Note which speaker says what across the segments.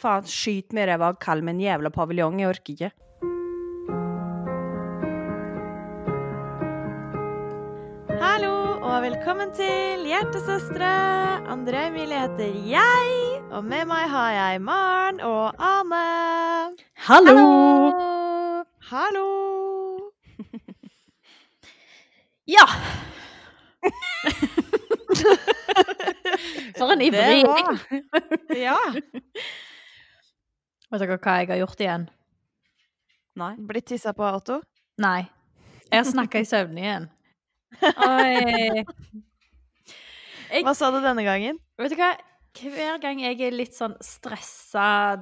Speaker 1: Faen, skyt meg i ræva og kall meg en jævla paviljong. Jeg orker ikke.
Speaker 2: Hallo og velkommen til Hjertesøstre. André Emilie heter jeg, og med meg har jeg Maren og Ane.
Speaker 1: Hallo!
Speaker 2: Hallo!
Speaker 3: Ja! For en
Speaker 2: Det
Speaker 3: ivrig.
Speaker 2: var Ja.
Speaker 3: Vet dere hva jeg har gjort igjen?
Speaker 1: Nei.
Speaker 2: Blitt tissa på av Otto?
Speaker 3: Nei. Jeg har snakka i søvne igjen. Oi. Jeg,
Speaker 2: Hva sa du denne gangen?
Speaker 3: vet du hva? Hver gang jeg er litt sånn stressa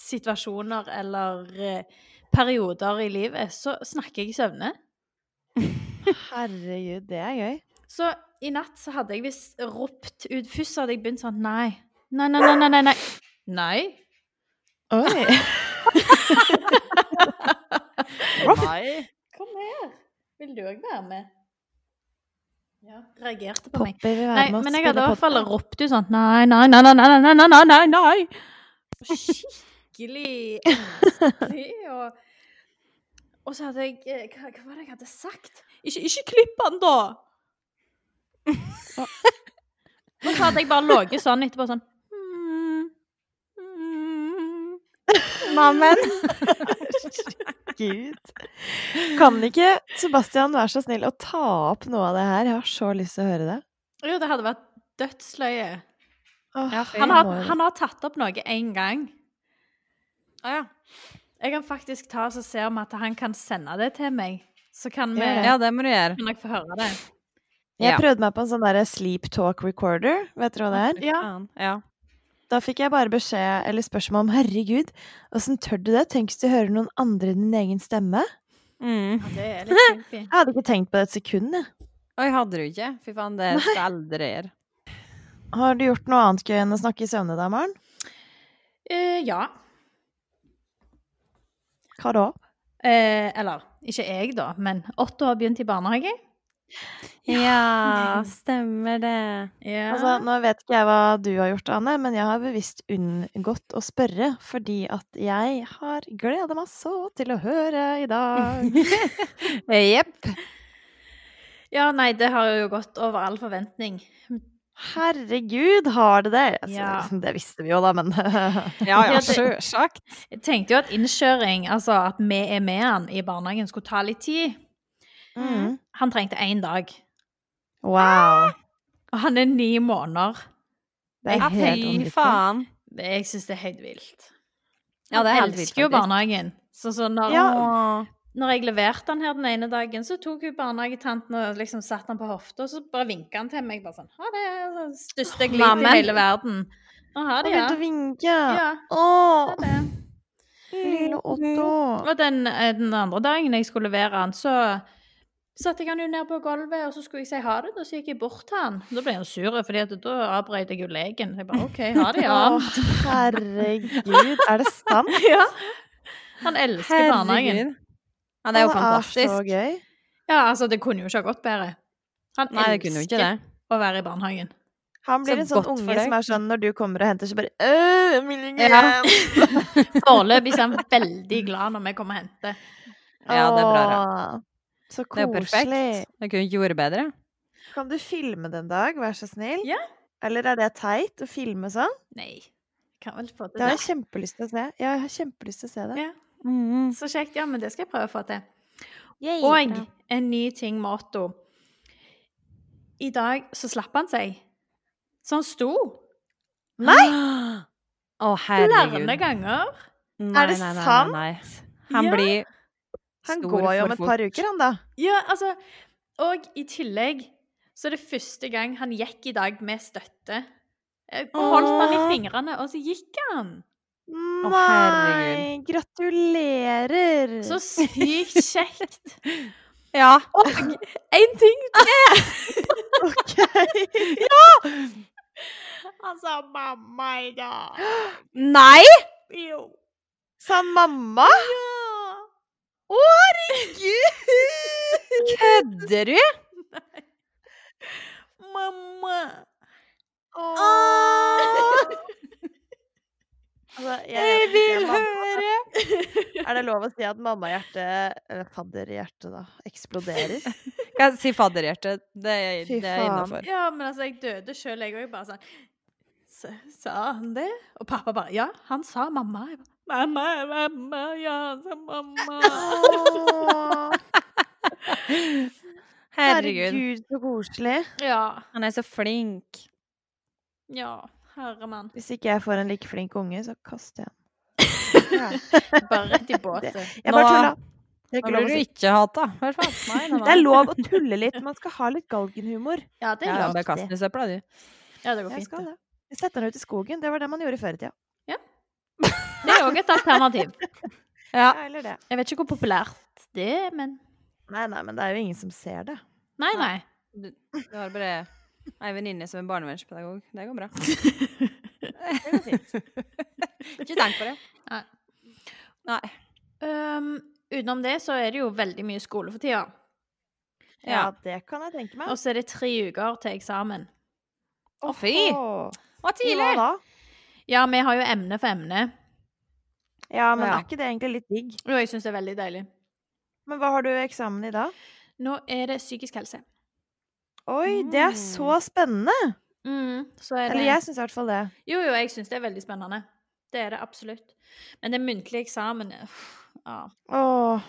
Speaker 3: situasjoner eller eh, perioder i livet, så snakker jeg i søvne.
Speaker 2: Herregud, det er gøy.
Speaker 3: Så i natt så hadde jeg visst ropt ut Først så hadde jeg begynt sånn Nei. Nei, nei, nei, nei, nei. Nei. nei.
Speaker 2: Oi. Nei.
Speaker 3: Kom her. Vil du òg være med? Ja, reagerte på meg.
Speaker 2: Poppy vil være
Speaker 3: Nei,
Speaker 2: med og
Speaker 3: men jeg hadde
Speaker 2: spille
Speaker 3: i hvert fall
Speaker 2: poppy.
Speaker 3: ropt ut sånn Nei, nei, nei, nei, nei, nei, nei, nei, nei, nei. Skikkelig engstelig og Og så hadde jeg eh, hva, hva var det jeg hadde sagt? Ikke, ikke klipp han, da! Og så hadde jeg bare ligget sånn etterpå sånn «Mm, mm».
Speaker 1: Mammen.
Speaker 2: Gud. Kan ikke Sebastian være så snill å ta opp noe av det her? Jeg har så lyst til å høre det.
Speaker 3: Jo, det hadde vært dødsløye.
Speaker 2: Åh,
Speaker 3: Han
Speaker 2: jeg
Speaker 3: har,
Speaker 2: må jo-
Speaker 3: han har tatt opp noe én gang. Å ja. Jeg kan faktisk ta og så se om at han kan sende det til meg. Så kan, vi,
Speaker 2: Gjør det.
Speaker 3: ja,
Speaker 1: Ja, det må du gjøre.
Speaker 3: kan dere få høre det.
Speaker 2: Jeg
Speaker 1: Ja.
Speaker 2: prøvde meg på en sånn der sleep talk recorder. Vet dere hva det er?
Speaker 3: Ja.
Speaker 1: Faen, ja.
Speaker 2: Da fikk jeg bare beskjed eller spørsmål om 'herregud, åssen tør du det? Tenk hvis du hører noen andre enn din egen stemme?'
Speaker 1: Mm.
Speaker 3: Ja, det er litt creepy.
Speaker 2: Jeg hadde ikke tenkt på det et sekund. jeg.
Speaker 1: Oi, hadde du ikke? Fy faen, det skal jeg aldri gjøre.
Speaker 2: Har du gjort noe annet gøy enn å snakke i søvne, da, Maren?
Speaker 3: Eh, ja.
Speaker 2: Hva da?
Speaker 3: Eh, eller ikke jeg, da, men Otto har begynt i barnehage.
Speaker 1: Ja, stemmer det.
Speaker 3: Ja.
Speaker 2: Altså, nå vet ikke jeg hva du har gjort, Anne, men jeg har bevisst unngått å spørre fordi at jeg har gleda meg så til å høre i dag.
Speaker 1: Jepp.
Speaker 3: ja, nei, det har jo gått over all forventning.
Speaker 2: Herregud, har det det? Altså,
Speaker 3: Ja.
Speaker 2: liksom, Det visste vi jo, da, men
Speaker 1: Ja, ja,
Speaker 3: Ja, det-
Speaker 1: sjølsagt.
Speaker 3: Jeg tenkte jo at innkjøring, altså at vi er med han i barnehagen, skulle ta litt tid.
Speaker 2: mm.
Speaker 3: Han trengte én dag.
Speaker 2: Wow.
Speaker 3: Og han er ni måneder.
Speaker 2: Det
Speaker 1: Ja,
Speaker 2: er helt
Speaker 1: fy
Speaker 2: vanvittig.
Speaker 1: faen.
Speaker 3: Det- Jeg syns det er helt vilt.
Speaker 1: Ja, det er helt
Speaker 3: jeg
Speaker 1: vilt,
Speaker 3: elsker jo
Speaker 1: faktisk.
Speaker 3: barnehagen. Så, så når,
Speaker 2: Ja.
Speaker 1: Åh.
Speaker 3: når jeg leverte han her den ene dagen, så tok hun barnehagetanten og liksom satte han på hofta, og så bare vinka han til meg. Bare sånn Ha det! den Største glid i
Speaker 1: Mammen.
Speaker 3: hele verden. Å, ha
Speaker 2: Han
Speaker 3: det, ja.
Speaker 2: begynte å vinke.
Speaker 3: ja.
Speaker 2: Åh,
Speaker 3: ha det.
Speaker 1: Mm-hmm.
Speaker 2: lille Otto.
Speaker 3: Og den, eh, den andre dagen jeg skulle levere han, så satte jeg han jo ned på gulvet, og så skulle jeg si ha det, og så gikk jeg bort til han. Da ble han sur, fordi at da avbrøt jeg jo legen. Jeg bare OK, ha det, ja.
Speaker 2: Å, herregud, er det sant?
Speaker 3: ja. Han elsker barnehagen.
Speaker 1: Herregud. Ja, det er jo
Speaker 2: så
Speaker 1: fantastisk.
Speaker 2: gøy.
Speaker 3: Ja, altså, det kunne jo ikke ha gått bedre. Han
Speaker 1: Nei, det kunne jo ikke det.
Speaker 3: å være i barnehagen.
Speaker 2: Han blir
Speaker 1: Så
Speaker 2: en sånn
Speaker 1: godt for
Speaker 2: unge
Speaker 1: deg.
Speaker 2: som er sånn når du kommer og henter, så bare «Øh, Emilie
Speaker 3: Ja.
Speaker 2: igjen!»
Speaker 3: Foreløpig så er han veldig glad når vi kommer og henter.
Speaker 1: Ja, det er bra. da.
Speaker 2: Åh, Så
Speaker 1: Det er jo perfekt.
Speaker 2: koselig.
Speaker 1: Jeg kunne ikke gjort det bedre.
Speaker 2: Kan du filme det en dag, vær så snill?
Speaker 3: Ja.
Speaker 2: Eller er det teit å filme sånn?
Speaker 3: Nei, jeg kan vel få
Speaker 2: Det
Speaker 3: til
Speaker 2: har
Speaker 3: det.
Speaker 2: jeg kjempelyst til å se. Ja, jeg har kjempelyst til å se det.
Speaker 3: Ja.
Speaker 2: Mm.
Speaker 3: Så kjekt, ja, men det skal jeg prøve å få til. Og
Speaker 2: Bra.
Speaker 3: en ny ting med Otto. I dag så slapp han seg. Så han sto
Speaker 2: Nei!
Speaker 1: Å, herregud.
Speaker 3: flere ganger.
Speaker 1: Nei,
Speaker 2: Er det
Speaker 1: nei, nei, nei,
Speaker 2: sant?
Speaker 1: nei. Han
Speaker 3: Ja.
Speaker 1: blir
Speaker 2: Han
Speaker 1: stor
Speaker 2: går jo om
Speaker 1: for
Speaker 2: et
Speaker 1: fort.
Speaker 2: par uker, han da.
Speaker 3: Ja, altså Og i tillegg så er det første gang han gikk i dag med støtte. Jeg holdt han i
Speaker 2: Åh.
Speaker 3: fingrene, og så gikk han.
Speaker 2: Nei! Gratulerer!
Speaker 3: Så sykt kjekt.
Speaker 1: Ja.
Speaker 3: Og en ting
Speaker 2: Ok.
Speaker 3: Han sa 'mamma' i dag.
Speaker 1: Nei!
Speaker 3: Jo.
Speaker 2: Sa mamma? Å, herregud!
Speaker 1: Kødder du?
Speaker 3: Mamma.
Speaker 2: Åh. Altså, jeg,
Speaker 1: Jeg
Speaker 2: vet ikke,
Speaker 1: vil
Speaker 2: mamma-
Speaker 1: høre!
Speaker 2: Er det lov å si at mammahjertet, eller fadderhjertet, da, eksploderer?
Speaker 1: Jeg sier fadderhjerte. Det er,
Speaker 2: Fy
Speaker 1: det er
Speaker 2: faen.
Speaker 1: innafor.
Speaker 3: Ja, men altså, jeg døde sjøl, jeg òg. Bare sånn «S- Sa han det? Og pappa bare Ja, han sa mamma. Jeg bare, Mamma, mamma, ja, han sa mamma.
Speaker 2: Åh,
Speaker 1: Herregud.
Speaker 2: så koselig.
Speaker 3: Ja.
Speaker 1: Han er så flink.
Speaker 3: Ja. Herre mann.
Speaker 2: Hvis ikke jeg får en like flink unge, så kaster jeg den.
Speaker 3: Bare rett i båten.
Speaker 2: Jeg bare
Speaker 1: Nå-
Speaker 2: tulla. Det
Speaker 1: Nå
Speaker 2: er ikke lov
Speaker 1: blir
Speaker 2: å
Speaker 1: du
Speaker 2: si.
Speaker 1: ikke hata, i hvert fall. Nei, nei,
Speaker 2: Det er
Speaker 1: nei.
Speaker 2: lov å tulle litt. Man skal ha litt galgenhumor.
Speaker 3: Ja, det
Speaker 1: Ja,
Speaker 3: er
Speaker 1: ja,
Speaker 3: lov.
Speaker 1: bare kast den i søpla, du.
Speaker 3: Ja, det går
Speaker 2: Jeg
Speaker 3: fint.
Speaker 2: skal
Speaker 3: det.
Speaker 2: det. Jeg setter den ut i skogen. Det var det man gjorde før i tida.
Speaker 3: Det er òg et alternativ.
Speaker 1: Ja.
Speaker 2: Ja, eller det.
Speaker 3: Jeg vet ikke hvor populært det er, men
Speaker 2: Nei, nei, men det er jo ingen som ser det.
Speaker 3: Nei, nei.
Speaker 1: Du har bare ei venninne som er barnevernspedagog. Det går bra. ikke tenk på det.
Speaker 3: Nei.
Speaker 1: Nei.
Speaker 3: Um, utenom det så er det jo veldig mye skole for tida.
Speaker 1: Ja.
Speaker 2: det kan jeg tenke meg.
Speaker 3: Og så er det tre uker til eksamen.
Speaker 1: Å, fy!
Speaker 2: Åh.
Speaker 1: Å,
Speaker 2: Jo,
Speaker 1: tidlig!
Speaker 2: da.
Speaker 3: Ja, vi har jo emne for emne,
Speaker 2: Ja, men
Speaker 1: Ja.
Speaker 2: er ikke det egentlig litt digg?
Speaker 3: og jeg syns det er veldig deilig.
Speaker 2: Men hva har du eksamen i da?
Speaker 3: Nå er det psykisk helse.
Speaker 2: Oi, det er så spennende!
Speaker 3: Mm, så er
Speaker 2: Eller
Speaker 3: Mm. det
Speaker 2: jeg syns i hvert fall det.
Speaker 3: Jo, jo, jeg syns det er veldig spennende. Det er det absolutt. Men det muntlige eksamen uff, ja,
Speaker 2: Åh.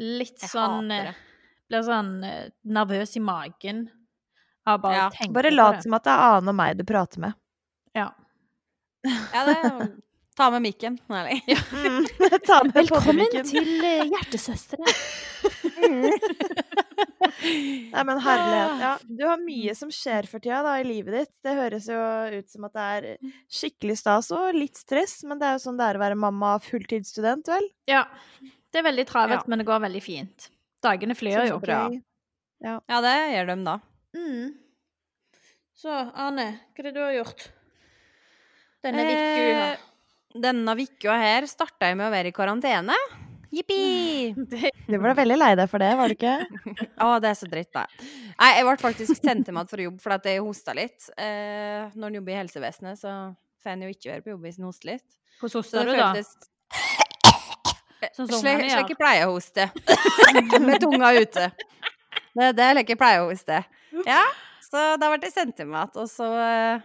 Speaker 3: Litt
Speaker 1: Jeg
Speaker 3: sånn
Speaker 1: hater
Speaker 3: eh, Blir sånn eh, nervøs i magen av bare å
Speaker 1: Ja,
Speaker 3: tenke
Speaker 2: Bare
Speaker 3: på
Speaker 2: lat
Speaker 3: det.
Speaker 2: som at det er Ane og meg du prater med.
Speaker 1: Ja, det er jo- Ta med mikken. Nei.
Speaker 2: Ta med
Speaker 3: Mm. Velkommen
Speaker 2: poddermikken.
Speaker 3: til eh, Hjertesøstre.
Speaker 2: Nei, men herlighet. Ja, du har mye som skjer for tida da, i livet ditt. Det høres jo ut som at det er skikkelig stas og litt stress, men det er jo sånn det er å være mamma og fulltidsstudent, vel?
Speaker 3: Ja. Det er veldig travelt,
Speaker 1: Ja.
Speaker 3: men det går veldig fint. Dagene
Speaker 2: Så
Speaker 3: flyr jo.
Speaker 2: bra.
Speaker 1: Ja, det gjør de da.
Speaker 3: Mm. Så, Arne, hva er det du har gjort? Denne
Speaker 1: Eh,
Speaker 3: uka?
Speaker 1: Denne uka her starta jeg med å være i karantene. Jippi!
Speaker 3: Det-
Speaker 2: Du ble veldig lei deg for det, var du ikke?
Speaker 1: Å, det er så dritt, da. Nei, jeg ble faktisk sendt hjem igjen fra jobb fordi at jeg hosta litt. Eh, når en jobber i helsevesenet, så får en jo ikke være på jobb hvis en hoster litt.
Speaker 3: Hvordan
Speaker 1: Så
Speaker 3: hoster du,
Speaker 1: det
Speaker 3: da?
Speaker 1: føltes
Speaker 3: Sånn som
Speaker 1: Slik
Speaker 3: ungene
Speaker 1: slik
Speaker 3: gjør?
Speaker 1: jeg pleier å hoste. Med tunga ute. Det er det slik jeg pleier å hoste. Ja, så da ble jeg sendt hjem igjen. Og så eh,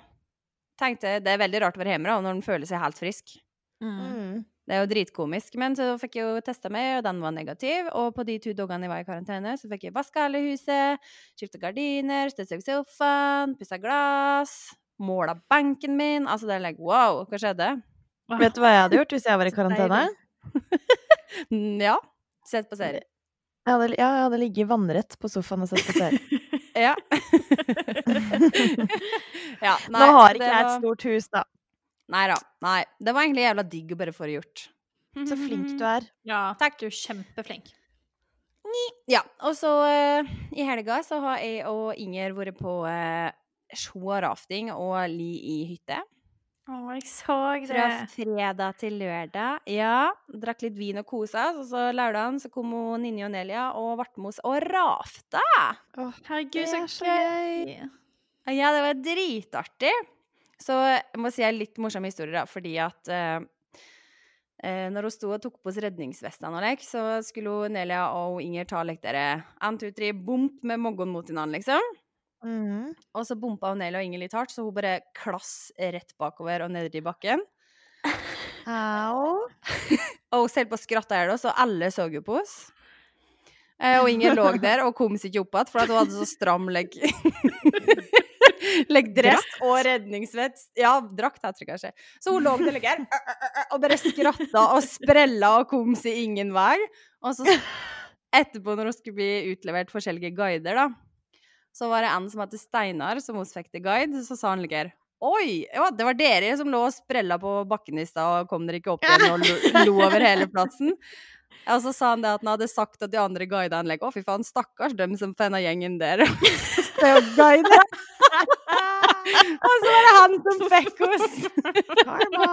Speaker 1: tenkte jeg det er veldig rart å være hjemme da, når en føler seg helt frisk.
Speaker 3: Mm.
Speaker 1: Det er jo dritkomisk. Men så fikk jeg jo testa meg, og den var negativ. Og på de to dagene jeg var i karantene, så fikk jeg vaska hele huset, skifta gardiner, støvsugd sofaen, pussa glass, måla benken min. Altså det er like wow, hva skjedde?
Speaker 3: Åh,
Speaker 2: Vet du hva jeg hadde gjort hvis jeg var i karantene?
Speaker 1: Mm, Ja. Sett på serie.
Speaker 2: Jeg hadde, ja, jeg hadde ligget vannrett på sofaen og sett på serie.
Speaker 1: Ja. ja nei,
Speaker 2: Nå har
Speaker 1: så
Speaker 2: ikke
Speaker 1: det
Speaker 2: jeg et
Speaker 1: var-
Speaker 2: stort hus, da.
Speaker 1: Nei da. Nei. Det var egentlig jævla digg å bare få det gjort.
Speaker 2: Så
Speaker 1: Mm.
Speaker 2: flink du er.
Speaker 3: Ja, takk. Du er kjempeflink.
Speaker 1: Ja. Og så eh, i helga så har jeg og Inger vært på uh, Sjoa rafting og li i hytte.
Speaker 3: Å, jeg så
Speaker 1: Fra fredag til lørdag. Ja. Drakk litt vin og kosa oss. Og så lørdagen så kom hun, Ninja og Nelia og ble med oss og rafta.
Speaker 3: Herregud,
Speaker 2: Det
Speaker 3: så
Speaker 2: er så
Speaker 3: gøy.
Speaker 2: gøy.
Speaker 1: Ja, det var dritartig. Så jeg må si en litt morsom historie, da, fordi at eh, eh, når hun sto og tok på oss redningsvestene og lek, så skulle hun, Nelia og hun Inger ta lek dere en, to, tre, bomp med moggen mot hverandre, liksom.
Speaker 2: Mhm.
Speaker 1: Og så bompa hun Nelia og Inger litt hardt, så hun bare klass rett bakover og nedi bakken.
Speaker 2: Au.
Speaker 1: Og hun selv på skratta her, da, så alle så jo på oss. Eh, og Inger lå der og kom seg ikke opp igjen, for at hun hadde så stram legg. Leggdress og redningsvest. Ja, drakt heter det kanskje. Så hun lå der ligger her, ø, ø, ø, og bare skratta og sprella og kom seg ingen vei. Og så etterpå, når hun skulle bli utlevert forskjellige guider, da, så var det en som het Steinar, som hun fikk til guide, så sa han ligger her. Oi! Ja, det var dere som lå og sprella på bakken i stad og kom dere ikke opp igjen og lo, lo over hele plassen. Ja, Og så sa han det at han hadde sagt at de andre guida han legger Å, fy faen, stakkars dem som fenna gjengen der.
Speaker 2: Det er jo guide.
Speaker 1: Og så var det han som fikk oss.
Speaker 2: Karma.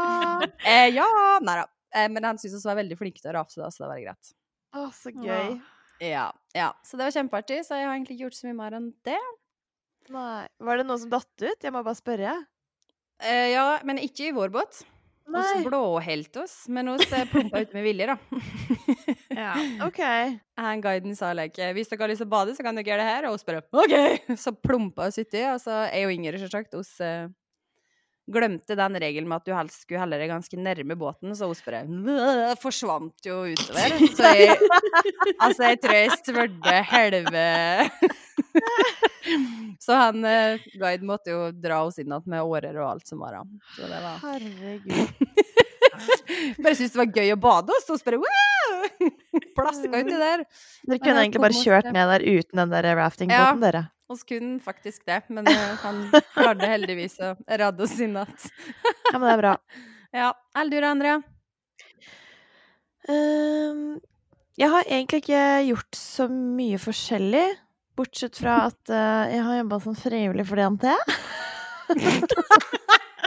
Speaker 1: Eh, ja, nei da. Eh, men han syntes vi var veldig flinke til å rafse, da, så det var greit.
Speaker 2: Å, så gøy.
Speaker 1: Ja, ja. Så det var kjempeartig, så jeg har egentlig ikke gjort så mye mer enn det.
Speaker 2: Nei. Var det noen som datt ut? Jeg må bare spørre.
Speaker 1: Eh, ja, men ikke i vår båt. Hos blåheltos, men hos eh, pumpa ut med vilje, da.
Speaker 3: Ja.
Speaker 2: OK.
Speaker 1: Han guiden sa like Hvis dere har lyst til å bade, så kan dere gjøre det her. Og hun spør OK! Så plumpa hun uti. Og så er jo Inger selvsagt hos eh, Glemte den regelen med at du helst skulle helle deg ganske nærme båten, så hun spør «Mø», Forsvant jo utover. Så jeg Altså, jeg tror jeg svørte helve Så han eh, guiden måtte jo dra oss inn igjen med årer og alt som var av. Så det var
Speaker 2: Herregud.
Speaker 1: Bare syntes det var gøy å bade, og så spør jeg wow! Plaska uti der.
Speaker 2: Dere
Speaker 1: det er
Speaker 2: kunne egentlig bare
Speaker 1: på en
Speaker 2: kjørt
Speaker 1: måte-
Speaker 2: ned der uten den der
Speaker 1: Ja.
Speaker 2: raftingbåten, dere.
Speaker 1: Og kun faktisk det, men eh, han klarte heldigvis å redde oss inn igjen.
Speaker 2: Ja, men det er bra.
Speaker 1: Ja. Eller du da, Andrea?
Speaker 2: Ehm, jeg har egentlig ikke gjort så mye forskjellig, bortsett fra at eh, jeg har jobba som frivillig for DNT.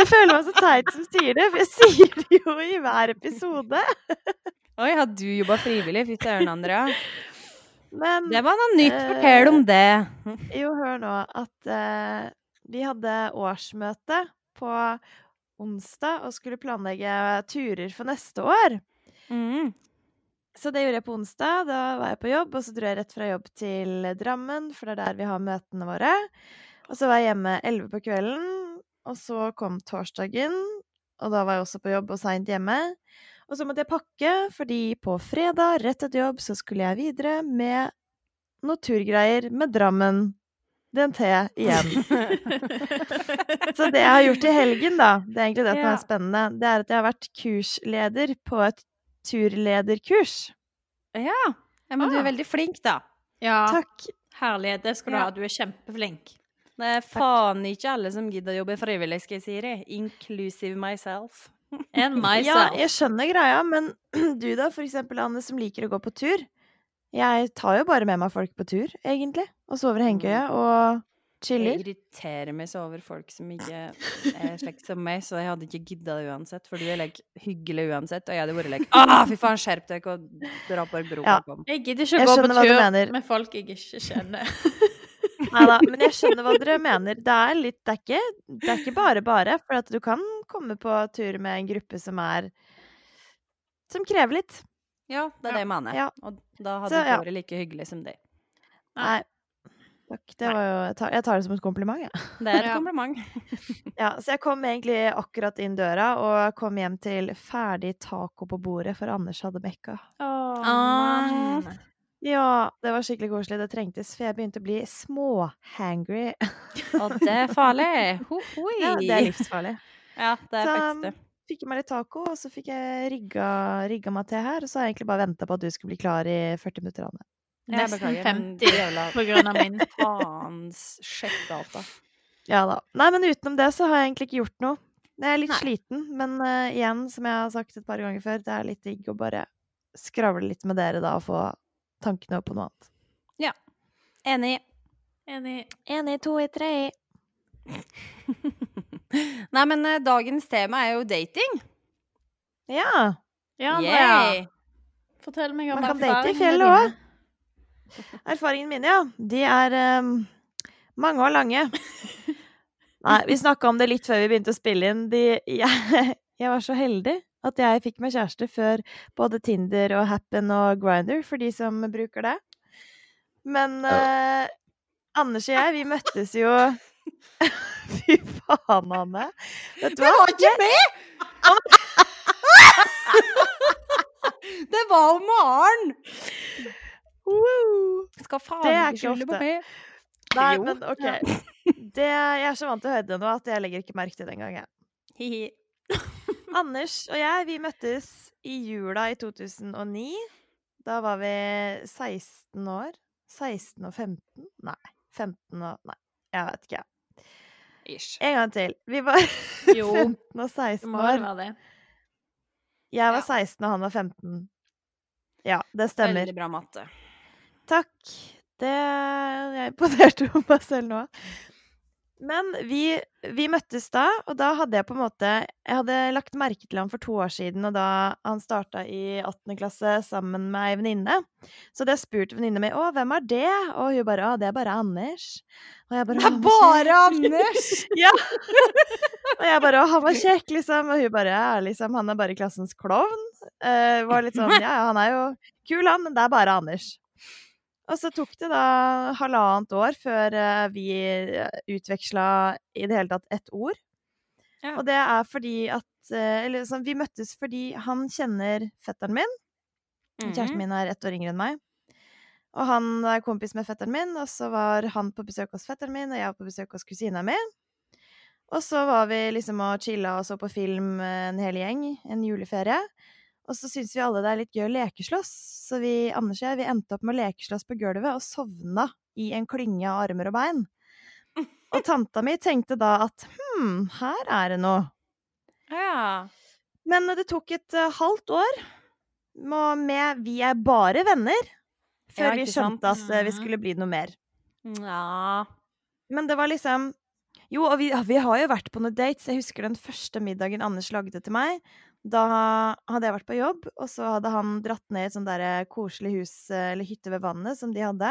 Speaker 2: jeg føler meg så teit som sier det, for jeg sier det jo i hver episode.
Speaker 1: Oi, har du jobba frivillig? Fy søren, Andrea.
Speaker 2: Men
Speaker 1: Det var noe nytt. Fortell om det.
Speaker 2: jo, hør nå at eh, vi hadde årsmøte på onsdag og skulle planlegge turer for neste år.
Speaker 1: Mm.
Speaker 2: Så det gjorde jeg på onsdag. Da var jeg på jobb, og så dro jeg rett fra jobb til Drammen, for det er der vi har møtene våre. Og så var jeg hjemme elleve på kvelden, og så kom torsdagen, og da var jeg også på jobb og seint hjemme. Og så måtte jeg pakke, fordi på fredag, rett etter jobb, så skulle jeg videre med noen turgreier med Drammen DNT igjen. Så det jeg har gjort i helgen, da, det er egentlig det som
Speaker 1: Ja.
Speaker 2: er spennende, det er at jeg har vært kursleder på et turlederkurs.
Speaker 1: Ja. ja. Men du er
Speaker 3: Ah.
Speaker 1: veldig flink, da.
Speaker 3: ja.
Speaker 2: Takk.
Speaker 3: Herlighet. Det skal du
Speaker 1: Ja.
Speaker 3: ha. Du er kjempeflink.
Speaker 1: Det er faen ikke alle som gidder å jobbe frivillig, skal jeg si det. Inclusive myself.
Speaker 3: And
Speaker 2: Ja,
Speaker 3: myself.
Speaker 2: jeg skjønner greia, men du da, for eksempel, Anne, som liker å gå på tur. Jeg tar jo bare med meg folk på tur, egentlig, og sover i hengekøye og
Speaker 1: Jeg
Speaker 2: chiller.
Speaker 1: irriterer meg så over folk som ikke er slekt som meg, så jeg hadde ikke gidda det uansett, for du er like hyggelig uansett, og jeg hadde vært like ah, fy faen, skjerp deg og dra på en bro.
Speaker 2: Ja.
Speaker 1: kom».
Speaker 3: Jeg gidder ikke
Speaker 2: Jeg
Speaker 3: å gå på
Speaker 2: skjønner hva du
Speaker 3: tur
Speaker 2: mener.
Speaker 3: med folk jeg ikke kjenner.
Speaker 2: Nei da, men jeg skjønner hva dere mener. Det er litt Det er ikke, det er ikke bare bare, for at du kan komme på tur med en gruppe som er Som krever litt.
Speaker 1: Ja, det er det jeg mener.
Speaker 2: Ja.
Speaker 1: Og da hadde
Speaker 2: Så,
Speaker 1: det ikke
Speaker 2: ja.
Speaker 1: vært like hyggelig som deg.
Speaker 2: Nei. Takk. Det var jo Jeg tar, jeg tar det som et kompliment, jeg.
Speaker 1: Det er et
Speaker 3: Ja.
Speaker 1: kompliment.
Speaker 2: Ja, så jeg kom egentlig akkurat inn døra og kom hjem til ferdig taco på bordet, for Anders hadde mekka.
Speaker 3: Åh,
Speaker 1: Ah.
Speaker 3: mann.
Speaker 2: Ja, det var skikkelig koselig. Det trengtes, for jeg begynte å bli småhangry.
Speaker 1: Og det er farlig. Ho, hoi.
Speaker 2: Ja, det er livsfarlig.
Speaker 1: Ja, det er
Speaker 2: Så,
Speaker 1: faktisk det.
Speaker 2: Fikk i meg litt taco, og så fikk jeg rigga, rigga meg til her. Og så har jeg egentlig bare venta på at du skulle bli klar i 40 minutter, Anne.
Speaker 1: Jeg
Speaker 3: Nesten
Speaker 1: beklager, men
Speaker 3: 50
Speaker 1: jævla
Speaker 3: på grunn av min.
Speaker 1: faens sjekkdata.
Speaker 2: Ja da. Nei, men utenom det så har jeg egentlig ikke gjort noe. Jeg er litt
Speaker 3: Nei.
Speaker 2: sliten, men eh, igjen, som jeg har sagt et par ganger før, det er litt digg å bare skravle litt med dere da og få tankene opp på noe annet.
Speaker 1: Enig.
Speaker 3: Enig.
Speaker 2: Enig, to i tre i.
Speaker 1: Nei, men eh, dagens tema er jo dating.
Speaker 2: Ja.
Speaker 3: Ja, Andrea.
Speaker 1: Yay!
Speaker 3: Fortell meg om
Speaker 2: Man kan date i
Speaker 3: erfaringene
Speaker 2: fjellet
Speaker 3: dine.
Speaker 2: òg. Erfaringene mine, ja. De er ehm, mange og lange. Nei, vi snakka om det litt før vi begynte å spille inn. De, jeg, jeg var så heldig at jeg fikk meg kjæreste før både Tinder og Happen og Grinder, for de som bruker det. Men eh, Anders og jeg, vi møttes jo Fy faen, Anne. Vet du hva?
Speaker 1: var ikke med! Det var jo Maren!
Speaker 2: Wow.
Speaker 1: Skal faen
Speaker 2: Det er
Speaker 1: ikke
Speaker 2: ikke
Speaker 1: skylde på
Speaker 2: ofte.
Speaker 1: meg.
Speaker 2: Nei,
Speaker 1: Jo.
Speaker 2: men OK. Det, jeg er så vant til å høre det nå at jeg legger ikke merke til det engang. jeg.
Speaker 1: Hihi.
Speaker 2: Anders og jeg, vi møttes i jula i 2009. Da var vi 16 år. 16 og 15? Nei. 15 og Nei, jeg vet ikke.
Speaker 1: Ish.
Speaker 2: En gang til. Vi var
Speaker 3: Jo,
Speaker 2: 15 og 16
Speaker 3: det må vel
Speaker 2: år.
Speaker 3: være det.
Speaker 2: Jeg
Speaker 1: Ja.
Speaker 2: var 16, og han var 15. Ja, det stemmer.
Speaker 1: Veldig bra matte.
Speaker 2: Takk. Det Jeg imponerte jo meg selv nå. Men vi, vi møttes da, og da hadde jeg på en måte Jeg hadde lagt merke til han for to år siden, og da han starta i 8. klasse sammen med ei venninne. Så hadde jeg spurt venninna mi 'Å, hvem er det?' Og hun bare 'Å, det er bare Anders'. Og jeg bare
Speaker 1: Det er
Speaker 2: «Å, han var
Speaker 1: bare Anders!
Speaker 2: kjekk!» Og jeg bare 'Å, han var kjekk', liksom. Og hun bare 'Ja, liksom, han er bare klassens klovn'. Eh, var litt sånn 'Ja, ja, han er jo kul, han, men det er bare Anders'. Og så tok det da halvannet år før eh, vi utveksla i det hele tatt ett ord.
Speaker 1: Ja.
Speaker 2: Og det er fordi at eh, Eller sånn, vi møttes fordi han kjenner fetteren min.
Speaker 1: Mhm.
Speaker 2: Kjæresten min er ett år yngre enn meg. Og han er kompis med fetteren min, og så var han på besøk hos fetteren min, og jeg var på besøk hos kusina mi. Og så var vi liksom og chilla og så på film eh, en hel gjeng en juleferie. Og så syns vi alle det er litt gøy å lekeslåss, så vi, Anders og jeg, vi endte opp med å lekeslåss på gulvet og sovna i en klynge av armer og bein. Og tanta mi tenkte da at hm, her er det noe.
Speaker 1: Mm-hmm. Ja.
Speaker 2: Men det tok et eh, halvt år må- med 'vi er bare venner'
Speaker 1: Ja,
Speaker 2: før vi
Speaker 1: ikke sant? Mm.
Speaker 2: skjønte at eh, vi
Speaker 3: Mhm.
Speaker 2: skulle bli noe mer.
Speaker 1: ja.
Speaker 2: Men det var liksom Jo, og vi, ja, vi har jo vært på noen dates. Jeg husker den første middagen Anders lagde til meg. Da hadde jeg vært på jobb, og så hadde han dratt ned i et sånt der eh, koselig hus eh, eller hytte ved vannet som de hadde,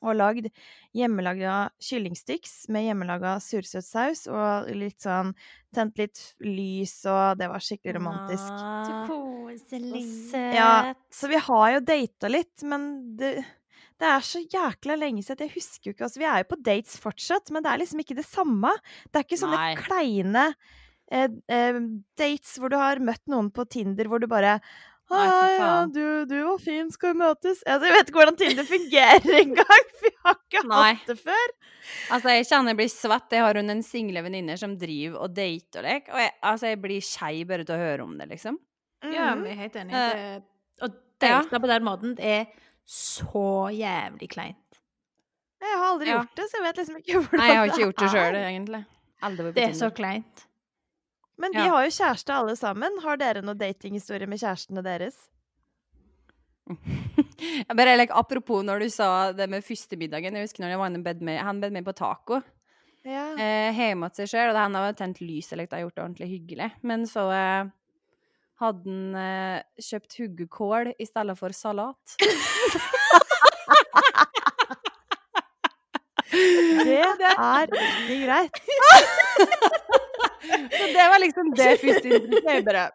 Speaker 2: og lagd hjemmelaga kyllingstyks med hjemmelaga sursøt saus og litt sånn Tent litt lys, og det var skikkelig romantisk.
Speaker 1: Så
Speaker 3: Ah.
Speaker 1: koselig.
Speaker 2: Ja,
Speaker 1: Eh,
Speaker 2: så vi har jo data litt, men det, det er så jækla lenge siden at jeg husker jo ikke altså, Vi er jo på dates fortsatt, men det er liksom ikke det samme. Det er ikke sånne
Speaker 1: Nei.
Speaker 2: kleine eh, eh, dates hvor du har møtt noen på Tinder hvor du bare Nei,
Speaker 1: Nei, fy
Speaker 2: ja,
Speaker 1: faen.
Speaker 2: du, du var fin, skal vi møtes? Altså, jeg vet ikke hvordan Tinder fungerer engang! Vi har ikke
Speaker 1: Nei.
Speaker 2: hatt det før!
Speaker 1: Altså, jeg kjenner jeg blir svett. Jeg har hun en single venninne som driver og dater og leker, og jeg, altså, jeg blir skei bare til å høre om det, liksom.
Speaker 3: Ja,
Speaker 2: Mhm.
Speaker 3: vi er helt enige.
Speaker 1: Eh,
Speaker 3: Det- Å
Speaker 1: ja.
Speaker 3: date på den måten det er så jævlig kleint.
Speaker 2: Jeg har aldri
Speaker 1: Ja.
Speaker 2: gjort det, så jeg vet liksom ikke hvordan
Speaker 1: Nei, jeg har ikke gjort det
Speaker 2: er.
Speaker 1: sjøl, egentlig. Aldri vært på
Speaker 3: Det er så
Speaker 1: Tinder.
Speaker 3: kleint.
Speaker 2: Men vi
Speaker 1: Ja.
Speaker 2: har jo kjæreste alle sammen. Har dere noen datinghistorie med kjærestene deres?
Speaker 1: Jeg bare like, Apropos når du sa det med førstemiddagen. Jeg husker når jeg var inne og bed med, han bed med på taco.
Speaker 2: Ja.
Speaker 1: Eh, hjemme hos seg sjøl, og han hadde tent lys eller det hadde gjort det ordentlig hyggelig. Men så eh, hadde han eh, kjøpt huggekål i stedet for salat.
Speaker 2: Det er ikke greit.
Speaker 1: Så det var liksom det første inntrykket. Jeg bare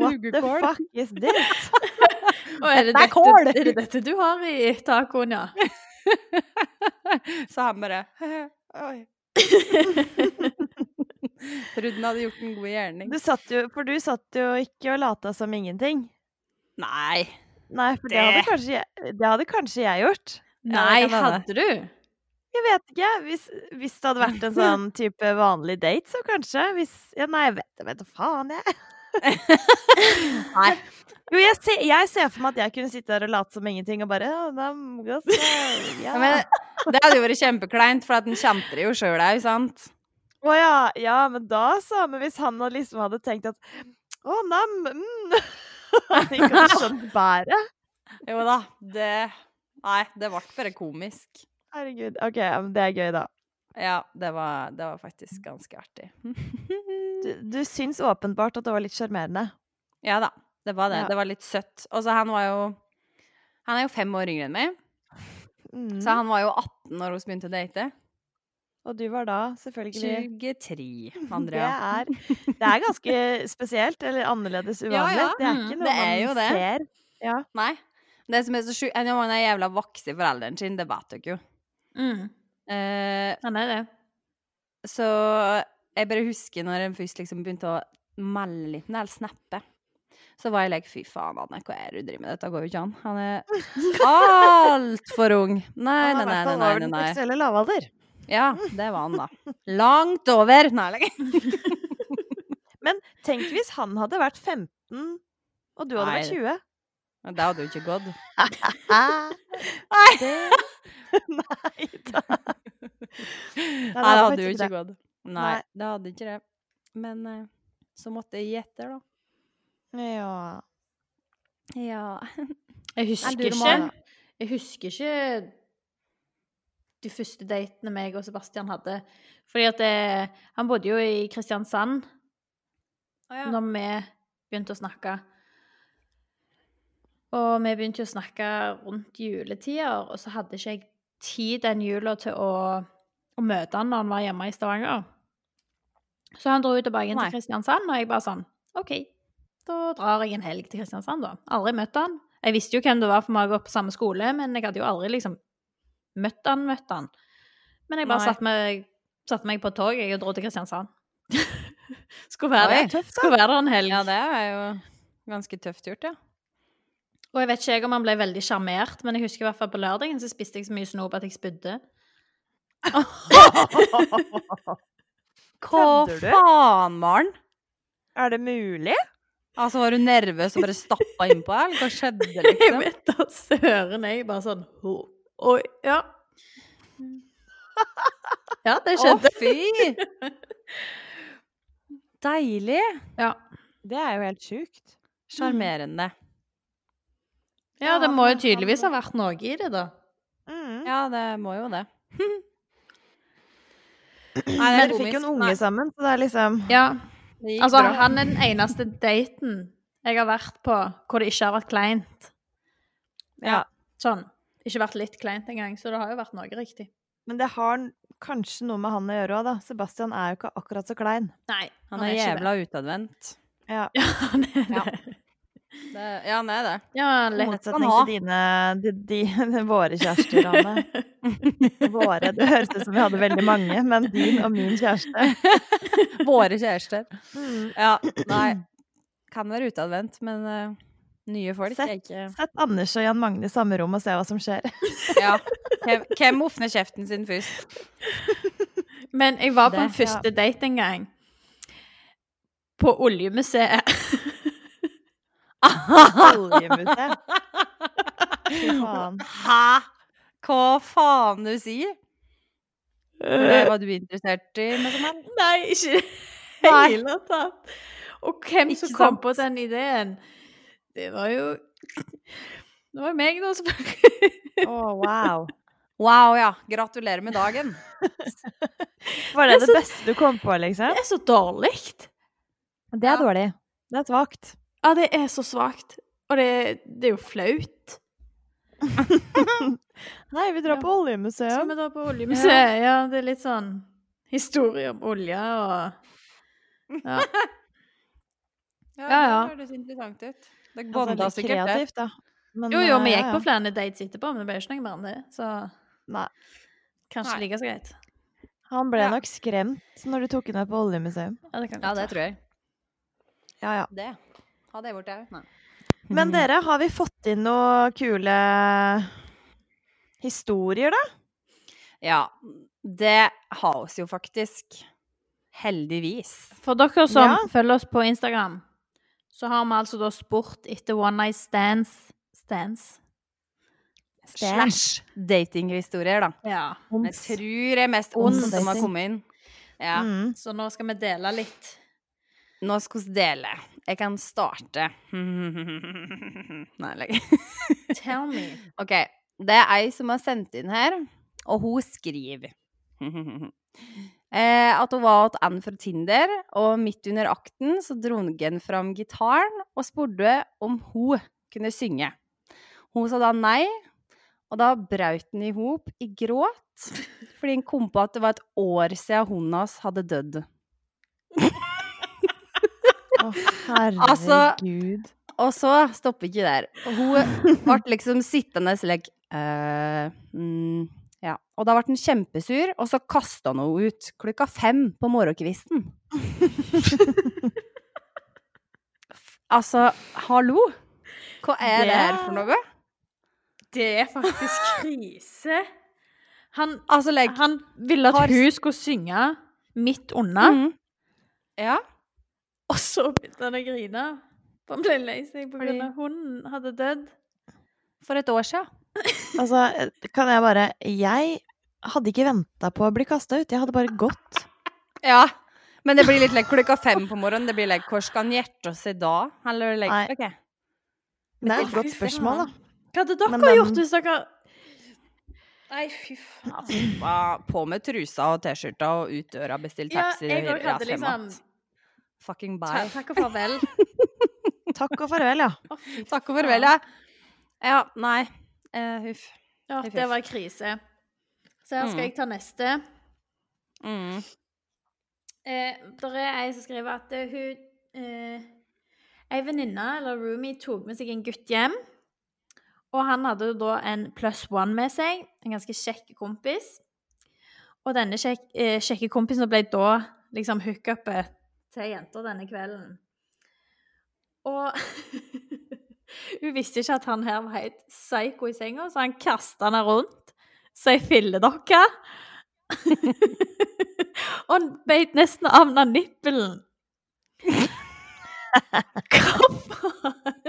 Speaker 2: What the fuck is this?
Speaker 3: Og er det
Speaker 1: Dette er
Speaker 3: dette,
Speaker 1: kål!
Speaker 3: er det dette du har i tacoen, ja?
Speaker 1: Så han bare Oi. Trodde han hadde gjort en god gjerning.
Speaker 2: Du satt jo, for du satt jo ikke og lata som ingenting.
Speaker 1: Nei.
Speaker 2: Nei, for det,
Speaker 1: Det-
Speaker 2: hadde, kanskje jeg, det hadde kanskje jeg gjort.
Speaker 3: Nei,
Speaker 1: Ja, det kan
Speaker 3: hadde du?
Speaker 2: Jeg vet ikke. Hvis, hvis det hadde vært en sånn type vanlig date, så kanskje. Hvis, ja, nei, jeg vet, jeg vet da faen, jeg.
Speaker 1: Nei.
Speaker 2: Jo, jeg ser, jeg ser for meg at jeg kunne sitte her og late som ingenting og bare ja, da, må jeg se, ja.
Speaker 1: Men det hadde jo vært kjempekleint, for at han kjente det jo sjøl òg, sant?
Speaker 2: Å ja, ja, men da så. Men hvis han hadde liksom hadde tenkt at å, nam, mm. Han ikke hadde skjønt bæret.
Speaker 1: Jo da. Det Nei, det ble bare komisk.
Speaker 2: Herregud. OK, ja, men det er gøy, da.
Speaker 1: Ja, det var, det var faktisk ganske artig. Hm.
Speaker 2: Du, du syns åpenbart at det var litt sjarmerende.
Speaker 1: ja da, det var det.
Speaker 2: Ja.
Speaker 1: Det var litt søtt. Og så han var jo Han er jo fem år yngre enn meg,
Speaker 2: Mm.
Speaker 1: så han var jo 18 når vi begynte å date.
Speaker 2: Og du var da selvfølgelig
Speaker 1: 23,
Speaker 2: det
Speaker 1: Andrea.
Speaker 2: er, det er ganske spesielt, eller annerledes
Speaker 1: ja.
Speaker 2: uvanlig. Det er ikke
Speaker 3: Mm,
Speaker 2: noe
Speaker 1: det er jo
Speaker 2: man
Speaker 1: det.
Speaker 2: ser.
Speaker 1: Nei. Det som er så sjukt Han er jævla vaks i foreldrene sine, det vet dere jo.
Speaker 3: Mm,
Speaker 1: Eh,
Speaker 3: han er det.
Speaker 1: så jeg bare husker når en først liksom begynte å melde litt, eller snappe. Så var jeg like, fy faen, Anne, hva er det du driver med? Dette går jo ikke an. Han er altfor ung. Nei, nei,
Speaker 2: Han har
Speaker 1: nei,
Speaker 2: vært
Speaker 1: nei,
Speaker 2: over
Speaker 1: nei,
Speaker 2: den
Speaker 1: nei, nei.
Speaker 2: seksuelle lavalder.
Speaker 1: Ja, det var han, da. Langt over. Nei, like.
Speaker 2: Tenk hvis han hadde vært 15, og du hadde
Speaker 1: Nei.
Speaker 2: vært 20.
Speaker 1: Men Det hadde jo ikke gått. Ah.
Speaker 2: Nei! Nei da.
Speaker 1: Nei, det
Speaker 2: det hadde
Speaker 1: hadde jo
Speaker 2: faktisk
Speaker 1: ikke
Speaker 2: ikke
Speaker 1: gått. Nei,
Speaker 2: Nei.
Speaker 1: det hadde ikke det. Men eh, så måtte jeg gi etter, da.
Speaker 2: Ja.
Speaker 1: Ja.
Speaker 3: Jeg husker
Speaker 2: lurer
Speaker 3: ikke.
Speaker 2: meg.
Speaker 3: Jeg husker ikke de første datene meg og Sebastian hadde. Fordi at eh, han bodde jo i Kristiansand når vi begynte å snakke. Og vi begynte jo å snakke rundt juletider, og så hadde ikke jeg tid den jula til å, å møte han når han var hjemme i Stavanger. Så han dro jo tilbake inn
Speaker 1: Nei.
Speaker 3: til Kristiansand, og jeg bare sånn OK, da drar jeg en helg til Kristiansand, da. Aldri møtt han. Jeg visste jo hvem det var, for vi har gått på samme skole, men jeg hadde jo aldri liksom møtt han, møtt han. Men jeg bare
Speaker 1: Nei.
Speaker 3: satte meg, satt meg på toget jeg, og dro til Kristiansand. Skulle være det.
Speaker 1: Oi, tøft, da.
Speaker 3: Skal være der en helg.
Speaker 1: Ja, det er jo ganske tøft gjort, ja.
Speaker 3: Og jeg vet ikke jeg om han ble veldig sjarmert, men jeg husker i hvert fall på lørdagen så spiste jeg så mye snop at jeg spydde.
Speaker 1: Hva
Speaker 2: Kødder du?
Speaker 1: faen, Maren?
Speaker 2: Er det mulig?
Speaker 1: Altså, var du nervøs og bare stappa innpå her? Hva skjedde,
Speaker 3: Jeg
Speaker 1: liksom?
Speaker 3: vet da søren, jeg bare sånn «Hå, Oi, ja. Ja, det
Speaker 1: Å,
Speaker 3: skjedde.
Speaker 1: fy! Deilig.
Speaker 3: Ja.
Speaker 2: Det er jo helt sjukt.
Speaker 1: Sjarmerende.
Speaker 2: Mm.
Speaker 3: ja, det må jo tydeligvis ha vært noe i det, da.
Speaker 2: Mm.
Speaker 1: Ja, det må jo det.
Speaker 2: Men dere fikk jo en unge sammen, så det er liksom
Speaker 3: Ja, altså
Speaker 1: Altså, han
Speaker 3: han er den eneste daten jeg har vært på hvor det ikke har vært kleint.
Speaker 2: Ja.
Speaker 3: Sånn. Ikke vært litt kleint engang, så det har jo vært noe riktig.
Speaker 2: Men det har n- kanskje noe med han å gjøre òg, da. Sebastian er jo ikke akkurat så klein.
Speaker 3: Nei,
Speaker 1: han er
Speaker 3: ikke det.
Speaker 1: jævla utadvendt.
Speaker 2: Ja,
Speaker 3: Ja, han er
Speaker 1: Ja.
Speaker 3: det.
Speaker 1: Det- Ja, han er det.
Speaker 3: Ja,
Speaker 2: I
Speaker 3: lett.
Speaker 2: motsetning
Speaker 1: ha.
Speaker 2: til dine de, de, våre kjærester, Anne. Våre. Det høres ut som vi hadde veldig mange, men din og min kjæreste.
Speaker 1: Våre kjærester.
Speaker 2: Mm.
Speaker 1: Ja, nei. Kan være utadvendt, men eh, nye folk er
Speaker 2: Sett.
Speaker 1: ikke
Speaker 2: Sett Anders og Jan Magne i samme rom og se hva som skjer.
Speaker 1: Ja. Hvem- Hvem åpner kjeften sin først?
Speaker 3: Men jeg var på
Speaker 1: Det-
Speaker 3: en første date en gang. På Oljemuseet.
Speaker 2: Oljemuseet. Fy faen.
Speaker 1: Hæ? Hva faen du sier? For det var du interessert i? Liksom.
Speaker 3: Nei, ikke i det
Speaker 1: Nei.
Speaker 3: hele tatt. Og hvem som
Speaker 1: Ikke
Speaker 3: kom
Speaker 1: sant.
Speaker 3: på den ideen? Det var jo Det var jo meg, da, selvfølgelig.
Speaker 2: Å, wow.
Speaker 1: Wow, ja. Gratulerer med dagen.
Speaker 2: Var det det beste du kom på, liksom?
Speaker 3: Det er så dårlig.
Speaker 2: Det er dårlig. Det er svakt.
Speaker 3: Ja, det er så svakt. Og det, det er jo flaut.
Speaker 2: Nei, vi drar på
Speaker 3: Skal
Speaker 2: oljemuseum.
Speaker 3: vi dra på Oljemuseet? Ja, det er litt sånn historie om olje og Ja, ja.
Speaker 1: Det høres interessant ut. Dere
Speaker 2: Altså,
Speaker 1: bonda
Speaker 2: litt
Speaker 1: sikkert der.
Speaker 2: kreativt, da. Men,
Speaker 3: Jo, jo,
Speaker 2: eh,
Speaker 3: vi
Speaker 2: ja,
Speaker 3: gikk
Speaker 2: ja.
Speaker 3: på flere dates etterpå, men det ble ikke noe mer enn det. Så
Speaker 2: Nei.
Speaker 3: kanskje
Speaker 1: Nei.
Speaker 3: like så greit.
Speaker 2: Han ble
Speaker 1: Ja.
Speaker 2: nok skremt når du tok henne med på oljemuseum.
Speaker 3: Ja, det kan
Speaker 1: Ja,
Speaker 3: godt
Speaker 1: det
Speaker 3: være.
Speaker 1: tror jeg.
Speaker 2: Ja, ja.
Speaker 1: Det. Ha det borte, jeg. Mm.
Speaker 2: Men dere, har vi fått inn noen kule historier, da?
Speaker 1: Ja. Det har oss jo faktisk. Heldigvis.
Speaker 3: For dere som
Speaker 2: Ja.
Speaker 3: følger oss på Instagram, så har vi altså da spurt etter one night stands. Stands?
Speaker 1: Slash datinghistorier, da.
Speaker 3: Ja.
Speaker 1: Men Jeg tror det er mest
Speaker 2: Ons
Speaker 1: ons som har
Speaker 2: dating.
Speaker 1: kommet inn. Ja.
Speaker 2: Mm.
Speaker 3: Så nå skal vi dele litt.
Speaker 1: Nå skal vi dele. Jeg kan starte. Nei, legg.
Speaker 3: Tell me.
Speaker 1: OK. Det er ei som har sendt inn her, og hun skriver eh, at hun var hos en fra Tinder, og midt under akten så dro han fram gitaren og spurte om hun kunne synge. Hun sa da nei, og da brøt han i hop i gråt fordi han kom på at det var et år siden hunden hans hadde dødd.
Speaker 2: Å, herregud.
Speaker 1: Altså- Og så stopper ikke der. Hun ble liksom sittende slik eh, mm, Ja. Og da ble han kjempesur, og så kasta han henne ut klokka fem på morgenkvisten. altså, hallo? Hva er det her for noe?
Speaker 3: Det er faktisk krise. Han,
Speaker 1: Altså, legg
Speaker 3: han ville
Speaker 1: Har-
Speaker 3: at hun skulle synge midt unna,
Speaker 1: mm. Ja.
Speaker 3: og så begynte han å grine. For han ble lei seg på
Speaker 1: Fordi-
Speaker 3: grunn av hunden hadde dødd.
Speaker 1: For et år sia.
Speaker 2: Altså, kan jeg bare Jeg hadde ikke venta på å bli kasta ut. Jeg hadde bare gått.
Speaker 1: Ja. Men det blir litt like klokka fem på morgenen. Det blir like Hvor skal han gjerte seg da? Eller
Speaker 2: Nei.
Speaker 1: like OK.
Speaker 2: Men det er
Speaker 3: Å,
Speaker 2: et godt
Speaker 3: fy
Speaker 2: spørsmål, da.
Speaker 3: faen. Hva hadde
Speaker 2: Men
Speaker 3: dere
Speaker 2: den-
Speaker 3: gjort hvis dere Nei, fy faen.
Speaker 1: Hva- På med trusa og T-skjorta og ut døra, bestill
Speaker 3: Ja,
Speaker 1: taxi,
Speaker 3: jeg òg hadde
Speaker 1: ras hjem
Speaker 3: liksom
Speaker 1: att. Fucking
Speaker 3: ta,
Speaker 1: bye.
Speaker 3: Takk og farvel.
Speaker 2: Takk og farvel, ja.
Speaker 3: Å, fy
Speaker 1: Takk og
Speaker 3: faen.
Speaker 1: farvel, ja. Ja, nei. Eh, huff.
Speaker 3: Ja,
Speaker 1: Huff,
Speaker 3: det
Speaker 1: huff.
Speaker 3: var krise. Så her skal
Speaker 1: Mm.
Speaker 3: jeg ta neste.
Speaker 1: Mm.
Speaker 3: Eh, der er ei som skriver at eh, hun eh, Ei venninne eller roomie tok med seg en gutt hjem. Og han hadde jo da en pluss one med seg, en ganske kjekk kompis. Og denne kjekk, eh, kjekke kompisen ble da liksom hookupet til jenta denne kvelden. Og hun visste ikke at han her var helt psycho i senga, så han kasta henne rundt som ei filledokke. Og han beit nesten av den nippelen. Hva faen?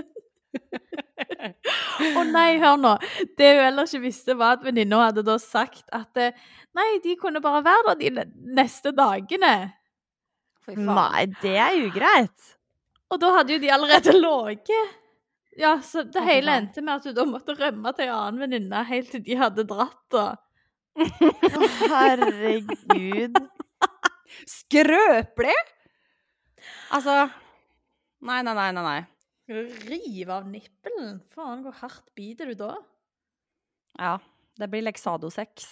Speaker 3: Å nei, hør nå. Det hun ellers ikke visste, var at venninna hadde da sagt at eh, nei, de kunne bare være der de ne- neste dagene.
Speaker 1: Fy faen.
Speaker 2: Nei, det er ugreit.
Speaker 3: Og da hadde jo de allerede ligget. Ja, så det
Speaker 1: Å, fy
Speaker 3: hele
Speaker 1: faen.
Speaker 3: endte med at hun da måtte rømme til en annen venninne helt til de hadde dratt. da.
Speaker 2: Å, herregud.
Speaker 1: Skrøpelig! Altså Nei, nei, nei, nei. nei.
Speaker 3: Rive av nippelen? Faen, hvor hardt biter du da?
Speaker 1: Ja. Det blir Lexado-sex.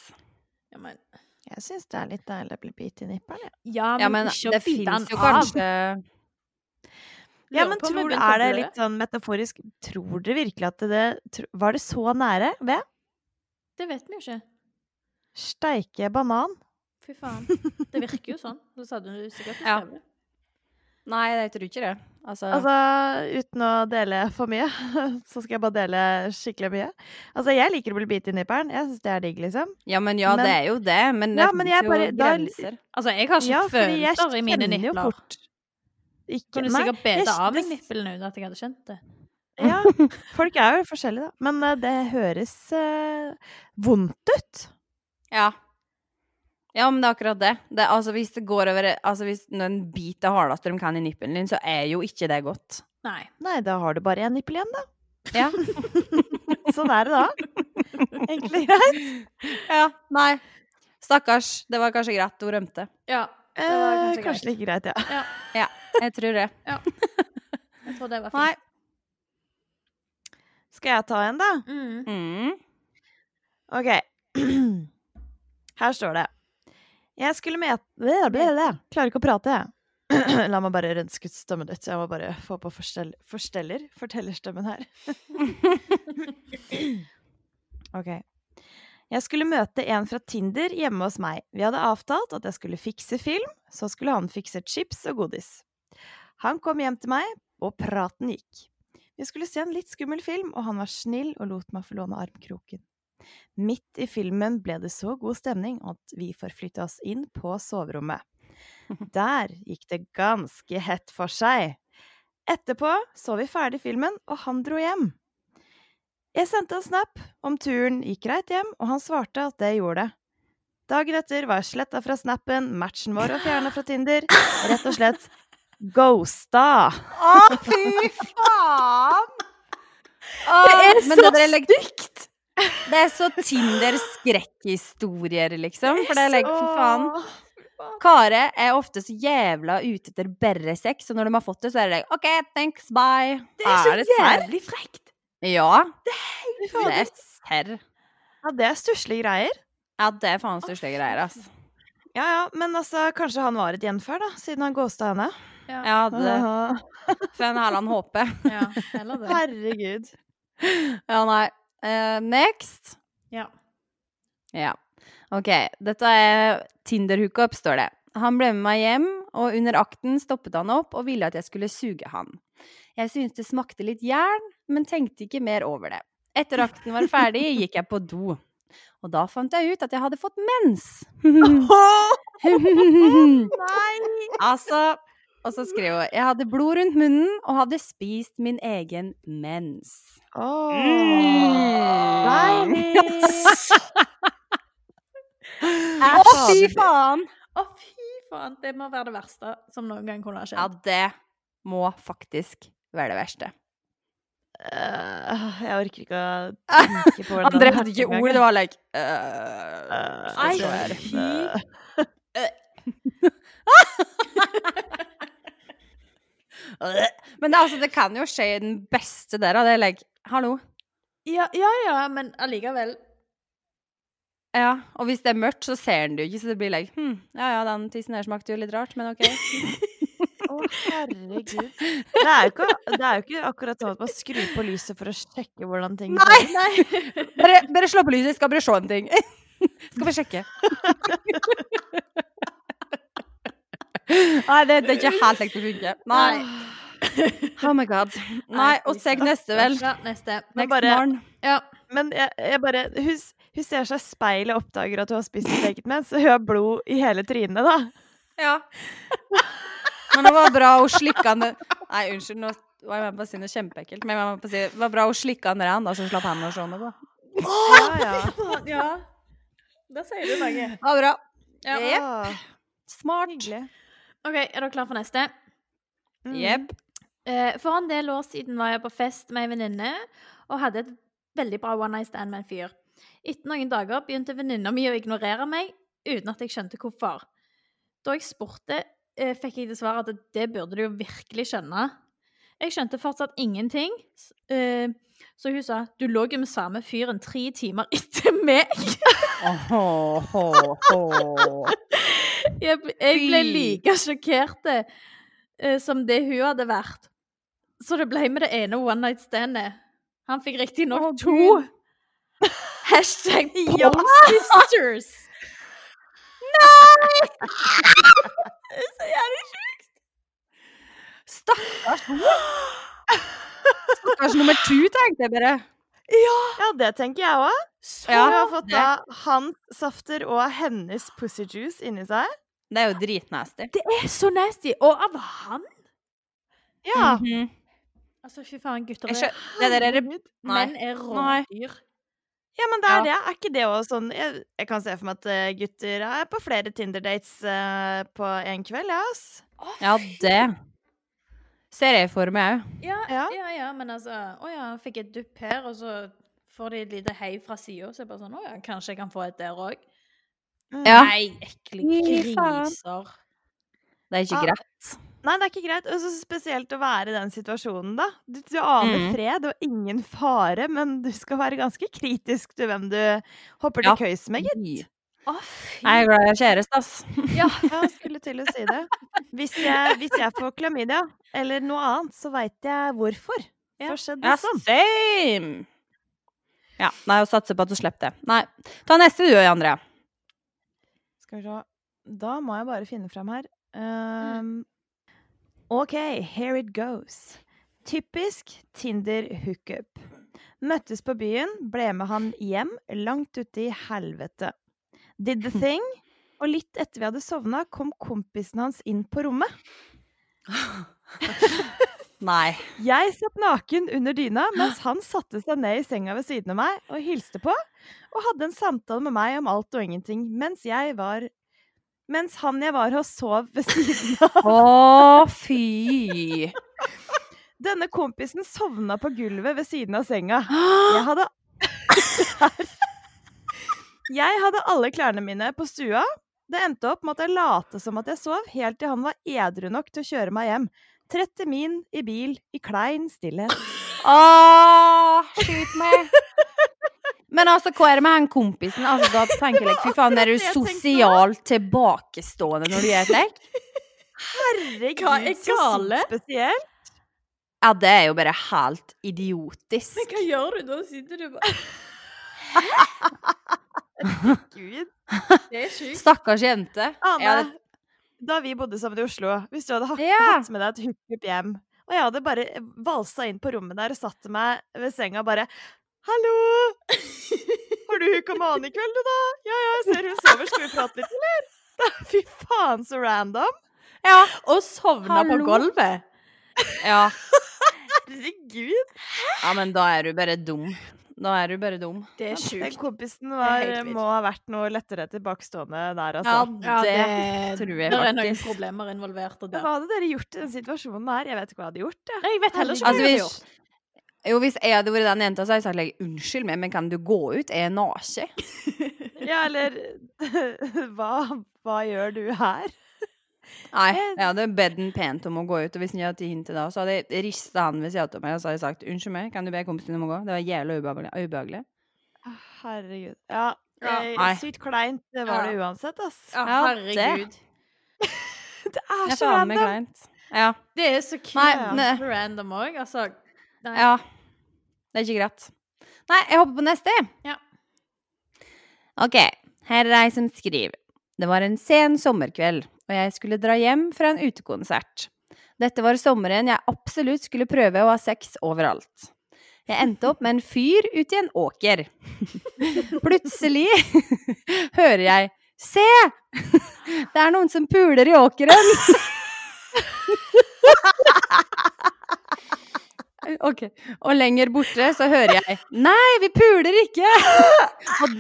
Speaker 3: Ja, men
Speaker 2: Jeg syns det er litt deilig å bli bitt i nippelen. jeg.
Speaker 3: Ja, men,
Speaker 1: Ja, men
Speaker 3: ikke
Speaker 1: det
Speaker 3: å bite
Speaker 1: fins
Speaker 3: den
Speaker 1: jo
Speaker 3: av.
Speaker 1: kanskje
Speaker 2: Ja,
Speaker 3: Lurer på
Speaker 2: men
Speaker 3: om jeg
Speaker 2: tror,
Speaker 3: begynte å
Speaker 2: er det
Speaker 3: blø.
Speaker 2: litt sånn metaforisk Tror dere virkelig at det tro- Var det så nære ved?
Speaker 3: Det vet vi jo ikke.
Speaker 2: Steike banan.
Speaker 3: Fy faen. Det virker jo sånn. Ellers hadde hun sikkert
Speaker 1: Ja.
Speaker 3: beskrevet det.
Speaker 1: Nei, jeg tror ikke det. Altså,
Speaker 2: Altså, uten å dele for mye, så skal jeg bare dele skikkelig mye. Altså, jeg liker å bli bitt i nipperen. Jeg syns det er digg, liksom.
Speaker 1: ja, men ja,
Speaker 2: men-
Speaker 1: det er jo det. Men det
Speaker 2: Ja,
Speaker 1: finnes
Speaker 2: men jeg
Speaker 1: jo
Speaker 2: bare- da-
Speaker 1: grenser.
Speaker 3: Altså, jeg har ikke
Speaker 2: Ja, fordi jeg
Speaker 3: følelser i mine
Speaker 2: kjenner jo
Speaker 3: nipler.
Speaker 2: fort Ikke
Speaker 3: Kunne
Speaker 2: Nei.
Speaker 3: sikkert bete
Speaker 2: jeg-
Speaker 3: av meg
Speaker 2: det-
Speaker 3: nippelen uten at jeg hadde kjent det.
Speaker 2: Ja, folk er jo forskjellige, da. Men eh, det høres eh, vondt ut.
Speaker 1: Ja. Ja, men det er akkurat det. det altså, hvis det går over Altså, hvis noen biter hardest de kan i nippelen din, så er jo ikke det godt.
Speaker 3: Nei.
Speaker 2: Nei, da har du bare én nippel igjen, da.
Speaker 1: Ja.
Speaker 2: Sånn er det da. Egentlig greit.
Speaker 1: ja. Nei. Stakkars. Det var kanskje greit hun rømte.
Speaker 3: Ja.
Speaker 2: Eh,
Speaker 3: var kanskje
Speaker 2: kanskje, like greit, ja.
Speaker 1: Jeg tror det.
Speaker 3: Jeg tror det var
Speaker 1: Nei.
Speaker 3: fint.
Speaker 2: Skal jeg ta en, da?
Speaker 3: Mm.
Speaker 1: Mm.
Speaker 2: OK. Her står det Jeg skulle møte Blæ, blæ, blæ. Klarer ikke å prate, jeg. La meg bare renske ut stemmen litt. Jeg må bare få på forstell forsteller fortellerstemmen her. OK. Jeg skulle møte en fra Tinder hjemme hos meg. Vi hadde avtalt at jeg skulle fikse film, så skulle han fikse chips og godis. Han kom hjem til meg, og praten gikk. Vi skulle se en litt skummel film, og han var snill og lot meg få låne armkroken. Midt i filmen ble det så god stemning at vi forflytta oss inn på soverommet. Der gikk det ganske hett for seg. Etterpå så vi ferdig filmen, og han dro hjem. Jeg sendte en snap om turen gikk greit hjem, og han svarte at det gjorde det. Dagen etter var jeg sletta fra snappen, matchen vår var fjerna fra Tinder. Rett og slett ghosta.
Speaker 1: Å, fy faen!
Speaker 2: Det er så
Speaker 1: stygt! Det er så Tinder-skrekkhistorier, liksom. For det er like, for faen. Kare er ofte så jævla ute etter bare sex, og når de har fått det, så er det like, OK, thanks, bye. serr?
Speaker 3: frekt!
Speaker 1: Ja, det
Speaker 2: Ja,
Speaker 1: er serr.
Speaker 2: det er stusslige greier.
Speaker 1: Ja, det er faen stusslige greier, ass.
Speaker 2: Ja ja, men altså, kanskje han var et gjenferd, da, siden han ghosta henne.
Speaker 3: Ja.
Speaker 1: Ja, det får en herland håpe.
Speaker 3: ja. Eller det.
Speaker 2: Herregud.
Speaker 1: Ja, nei. Eh, next.
Speaker 3: Ja.
Speaker 1: Ja. OK. Dette er Tinder-hookup, står det. Han ble med meg hjem, og under akten stoppet han opp og ville at jeg skulle suge han. Jeg syntes det smakte litt jern, men tenkte ikke mer over det. Etter akten var ferdig, gikk jeg på do. Og da fant jeg ut at jeg hadde fått mens.
Speaker 2: Nei!
Speaker 1: altså Og så skrev hun Jeg hadde blod rundt munnen og hadde spist min egen mens. Mm.
Speaker 2: Deilig!
Speaker 1: Å, fy faen!
Speaker 3: Å, fy faen. Det må være det verste som noen gang kunne ha
Speaker 1: Ja,
Speaker 3: skjedd.
Speaker 1: det må faktisk være det verste.
Speaker 2: Øh, jeg orker ikke å tenke på hvordan
Speaker 1: André hadde ikke
Speaker 2: tankegangen-
Speaker 1: ord, det var like
Speaker 2: Øh,
Speaker 1: Nei,
Speaker 2: så er det.
Speaker 1: fy.
Speaker 2: Øh,
Speaker 1: Men det, er altså, det kan jo skje i den beste der, og det er like Hallo.
Speaker 3: Ja, ja, ja, men allikevel.
Speaker 1: Ja, og hvis det er mørkt, så ser en det jo ikke, så det blir like hm, Ja ja, den tissen her smakte jo litt rart, men OK.
Speaker 2: Å, herregud. Det er, jo ikke, det er jo ikke akkurat sånn at man skrur på lyset for å sjekke hvordan ting
Speaker 1: Nei!
Speaker 2: føles.
Speaker 1: Bare, bare slå på lyset, jeg skal bare se en ting. Skal bare sjekke. Nei, det, det er ikke helt lekt å funke. Nei. Oh my god. Nei,
Speaker 2: Nei,
Speaker 1: og seg
Speaker 2: Lisa.
Speaker 1: neste, vel.
Speaker 3: Ja, neste.
Speaker 2: Men
Speaker 1: Next
Speaker 2: bare-
Speaker 1: morgen.
Speaker 3: Ja.
Speaker 2: Men jeg, jeg bare hun, s- hun ser seg i speilet og oppdager at hun har spist sitt eget mens, og hun har blod i hele trynet, da.
Speaker 1: Ja. Men det var bra hun slikka den Nei, unnskyld, nå var jeg med på å si noe kjempeekkelt. Men jeg var med på å si det var bra hun slikka den ræn, da, så hun slapp hendene og sånn. og da.
Speaker 2: Ja, ja.
Speaker 3: ja. Da sier du noe.
Speaker 1: Ja, bra.
Speaker 3: Ja.
Speaker 1: Jep.
Speaker 2: Å,
Speaker 1: Smart.
Speaker 2: Hyggelig.
Speaker 3: OK, er dere klar for neste?
Speaker 2: Mm.
Speaker 1: Jepp.
Speaker 3: Eh, For en del år siden var jeg på fest med ei venninne og hadde et veldig bra one night stand med en fyr. Etter noen dager begynte venninna mi å ignorere meg uten at jeg skjønte hvorfor. Da jeg spurte, eh, fikk jeg til svar at det burde du jo virkelig skjønne. Jeg skjønte fortsatt ingenting, s- eh, så hun sa 'du lå jo med samme fyren tre timer etter meg'. Jeg, b- jeg ble
Speaker 1: Fy.
Speaker 3: like sjokkert eh, som det hun hadde vært. Så det ble med det ene one night standet. Han fikk riktignok
Speaker 1: Å,
Speaker 3: nok to. Hashtag
Speaker 1: Ja.
Speaker 3: Pop Sisters. Nei! Så jævlig sjukt.
Speaker 1: Stakkars hun. Stakkars nummer to, tenkte jeg bare.
Speaker 2: Ja, det tenker jeg òg. Hun
Speaker 1: Ja,
Speaker 2: har fått
Speaker 1: det-
Speaker 2: da hans safter og hennes pussy juice inni seg.
Speaker 1: Det er jo dritnasty.
Speaker 3: Det er så nasty. Og av han
Speaker 2: Ja.
Speaker 1: Mhm.
Speaker 3: Altså, fy faen, gutter
Speaker 1: Jeg
Speaker 3: er
Speaker 1: skjø- Det der er
Speaker 2: herregud.
Speaker 1: Nei.
Speaker 3: Menn er
Speaker 1: Nei.
Speaker 3: rådyr.
Speaker 2: Ja, men det er
Speaker 1: Ja.
Speaker 2: det. Er ikke det òg sånn jeg, jeg kan se for meg at eh, gutter er på flere Tinder-dates eh, på én kveld, ja, ass.
Speaker 1: Ja, det ser jeg for meg òg.
Speaker 3: Ja, ja,
Speaker 2: Ja.
Speaker 3: ja, men altså Å ja, han fikk et dupp her, og så får de et lite hei fra sida, så jeg bare sånn Å ja, kanskje jeg kan få et der òg.
Speaker 2: Mm.
Speaker 1: Ja.
Speaker 3: Nei, ekle
Speaker 1: Fy faen.
Speaker 3: griser.
Speaker 1: Det er ikke
Speaker 2: Ja.
Speaker 1: greit.
Speaker 2: Ah, Nei, det er ikke greit. Og så spesielt å være i den situasjonen, da. Du, du aner
Speaker 1: Mm.
Speaker 2: fred og ingen fare, men du skal være ganske kritisk til hvem du hopper
Speaker 1: Ja.
Speaker 2: til køys med, gitt.
Speaker 3: Å, fy
Speaker 1: Jeg er glad jeg har kjæreste, ass.
Speaker 2: Ja, jeg skulle til å si det. Hvis jeg, hvis jeg får klamydia eller noe annet, så veit jeg hvorfor.
Speaker 3: Ja.
Speaker 2: For skjedde
Speaker 1: Ja,
Speaker 2: det sånn.
Speaker 1: same! Ja, nei, og satser på at du slipper det. Nei, ta neste du, Andrea.
Speaker 2: Skal vi se. Da må jeg bare finne fram her. Ehm, OK, here it goes. Typisk Tinder-hookup. Møttes på byen, ble med han hjem, langt ute i helvete. Did the thing, og litt etter vi hadde sovna, kom kompisen hans inn på rommet.
Speaker 1: Nei.
Speaker 2: Jeg satt naken under dyna, mens han satte seg ned i senga ved siden av meg og hilste på, og hadde en samtale med meg om alt og ingenting, mens jeg var Mens han jeg var hos, sov ved siden av.
Speaker 1: Å, fy!
Speaker 2: Denne kompisen sovna på gulvet ved siden av senga. Jeg
Speaker 1: Ja.
Speaker 2: hadde Jeg hadde alle klærne mine på stua. Det endte opp med at jeg late som at jeg sov, helt til han var edru nok til å kjøre meg hjem. 30 min i bil, i klein stillhet.
Speaker 1: Å, skyt meg! Men altså, hva er det med han kompisen? Altså, da tenker jeg, like, fy faen, er du
Speaker 2: Det var akkurat det jeg
Speaker 1: sosialt tilbakestående når du gjør et lek?
Speaker 2: Herregud,
Speaker 3: Hva er
Speaker 2: så
Speaker 3: gale?
Speaker 2: spesielt.
Speaker 1: Ja, det er jo bare helt idiotisk.
Speaker 3: Men hva gjør du da? Sitter du bare
Speaker 2: Gud.
Speaker 3: Det er sjukt.
Speaker 1: Stakkars jente.
Speaker 2: Ane,
Speaker 1: Ja, det-
Speaker 2: da vi bodde sammen i Oslo, hvis du hadde hatt,
Speaker 1: Ja.
Speaker 2: hatt med deg et hookup hjem, og jeg hadde bare valsa inn på rommet der og satt meg ved senga og bare Hallo! Har du hooka med Ane i kveld, du, da? Ja, ja, jeg ser hun sover. Skal vi prate litt, eller? Fy faen, så random.
Speaker 1: ja.
Speaker 3: Og sovna
Speaker 1: Hallo?
Speaker 3: på gulvet.
Speaker 1: ja.
Speaker 2: Herregud.
Speaker 1: Ja, men da er du bare dum. Da er du bare dum.
Speaker 3: Det er
Speaker 2: Den
Speaker 3: sjukt.
Speaker 2: kompisen
Speaker 3: Det
Speaker 2: var,
Speaker 3: er helt vilt.
Speaker 2: må ha vært noe lettere tilbakestående der, altså.
Speaker 1: tror jeg
Speaker 3: Det er noen
Speaker 1: faktisk.
Speaker 3: problemer involvert og
Speaker 2: Hva hadde dere gjort i den situasjonen her? Jeg vet ikke hva jeg hadde gjort. jeg.
Speaker 3: Nei, jeg vet heller ikke hva
Speaker 1: Altså,
Speaker 3: jeg hadde
Speaker 1: hvis-
Speaker 3: gjort.
Speaker 1: Jo, hvis jeg hadde vært den jenta, så hadde jeg sagt like, unnskyld meg, men kan du gå ut? Jeg er naken.
Speaker 2: Ja, eller hva, hva gjør du her?
Speaker 1: Nei, jeg hadde bedt den pent om å gå ut, og hvis han ikke hadde tid til det, så hadde jeg rista han ved siden av meg og så hadde jeg sagt unnskyld meg, kan du be kompisen din om å gå? Det var jævlig ubehagelig. ubehagelig.
Speaker 2: Å, Herregud. Ja,
Speaker 3: Ja,
Speaker 2: eh,
Speaker 1: nei.
Speaker 2: sykt kleint det var
Speaker 3: Ja.
Speaker 2: det uansett, ass.
Speaker 3: Ja,
Speaker 1: Ja, det-
Speaker 3: herregud.
Speaker 2: Det er
Speaker 1: Jeg
Speaker 2: så
Speaker 1: faen meg
Speaker 2: random!
Speaker 1: kleint. Ja.
Speaker 3: Det er så
Speaker 1: Nei,
Speaker 3: kult. Random òg, altså. Nei.
Speaker 1: ja. Det er ikke greit. Nei, jeg hopper på neste.
Speaker 3: Ja.
Speaker 1: OK. Her er ei som skriver. Det var en sen sommerkveld, og jeg skulle dra hjem fra en utekonsert. Dette var sommeren jeg absolutt skulle prøve å ha sex overalt. Jeg endte opp med en fyr ute i en åker. Plutselig hører jeg Se! Det er noen som puler i åkeren! Ok. Og lenger borte så hører jeg Nei, vi puler ikke! Og,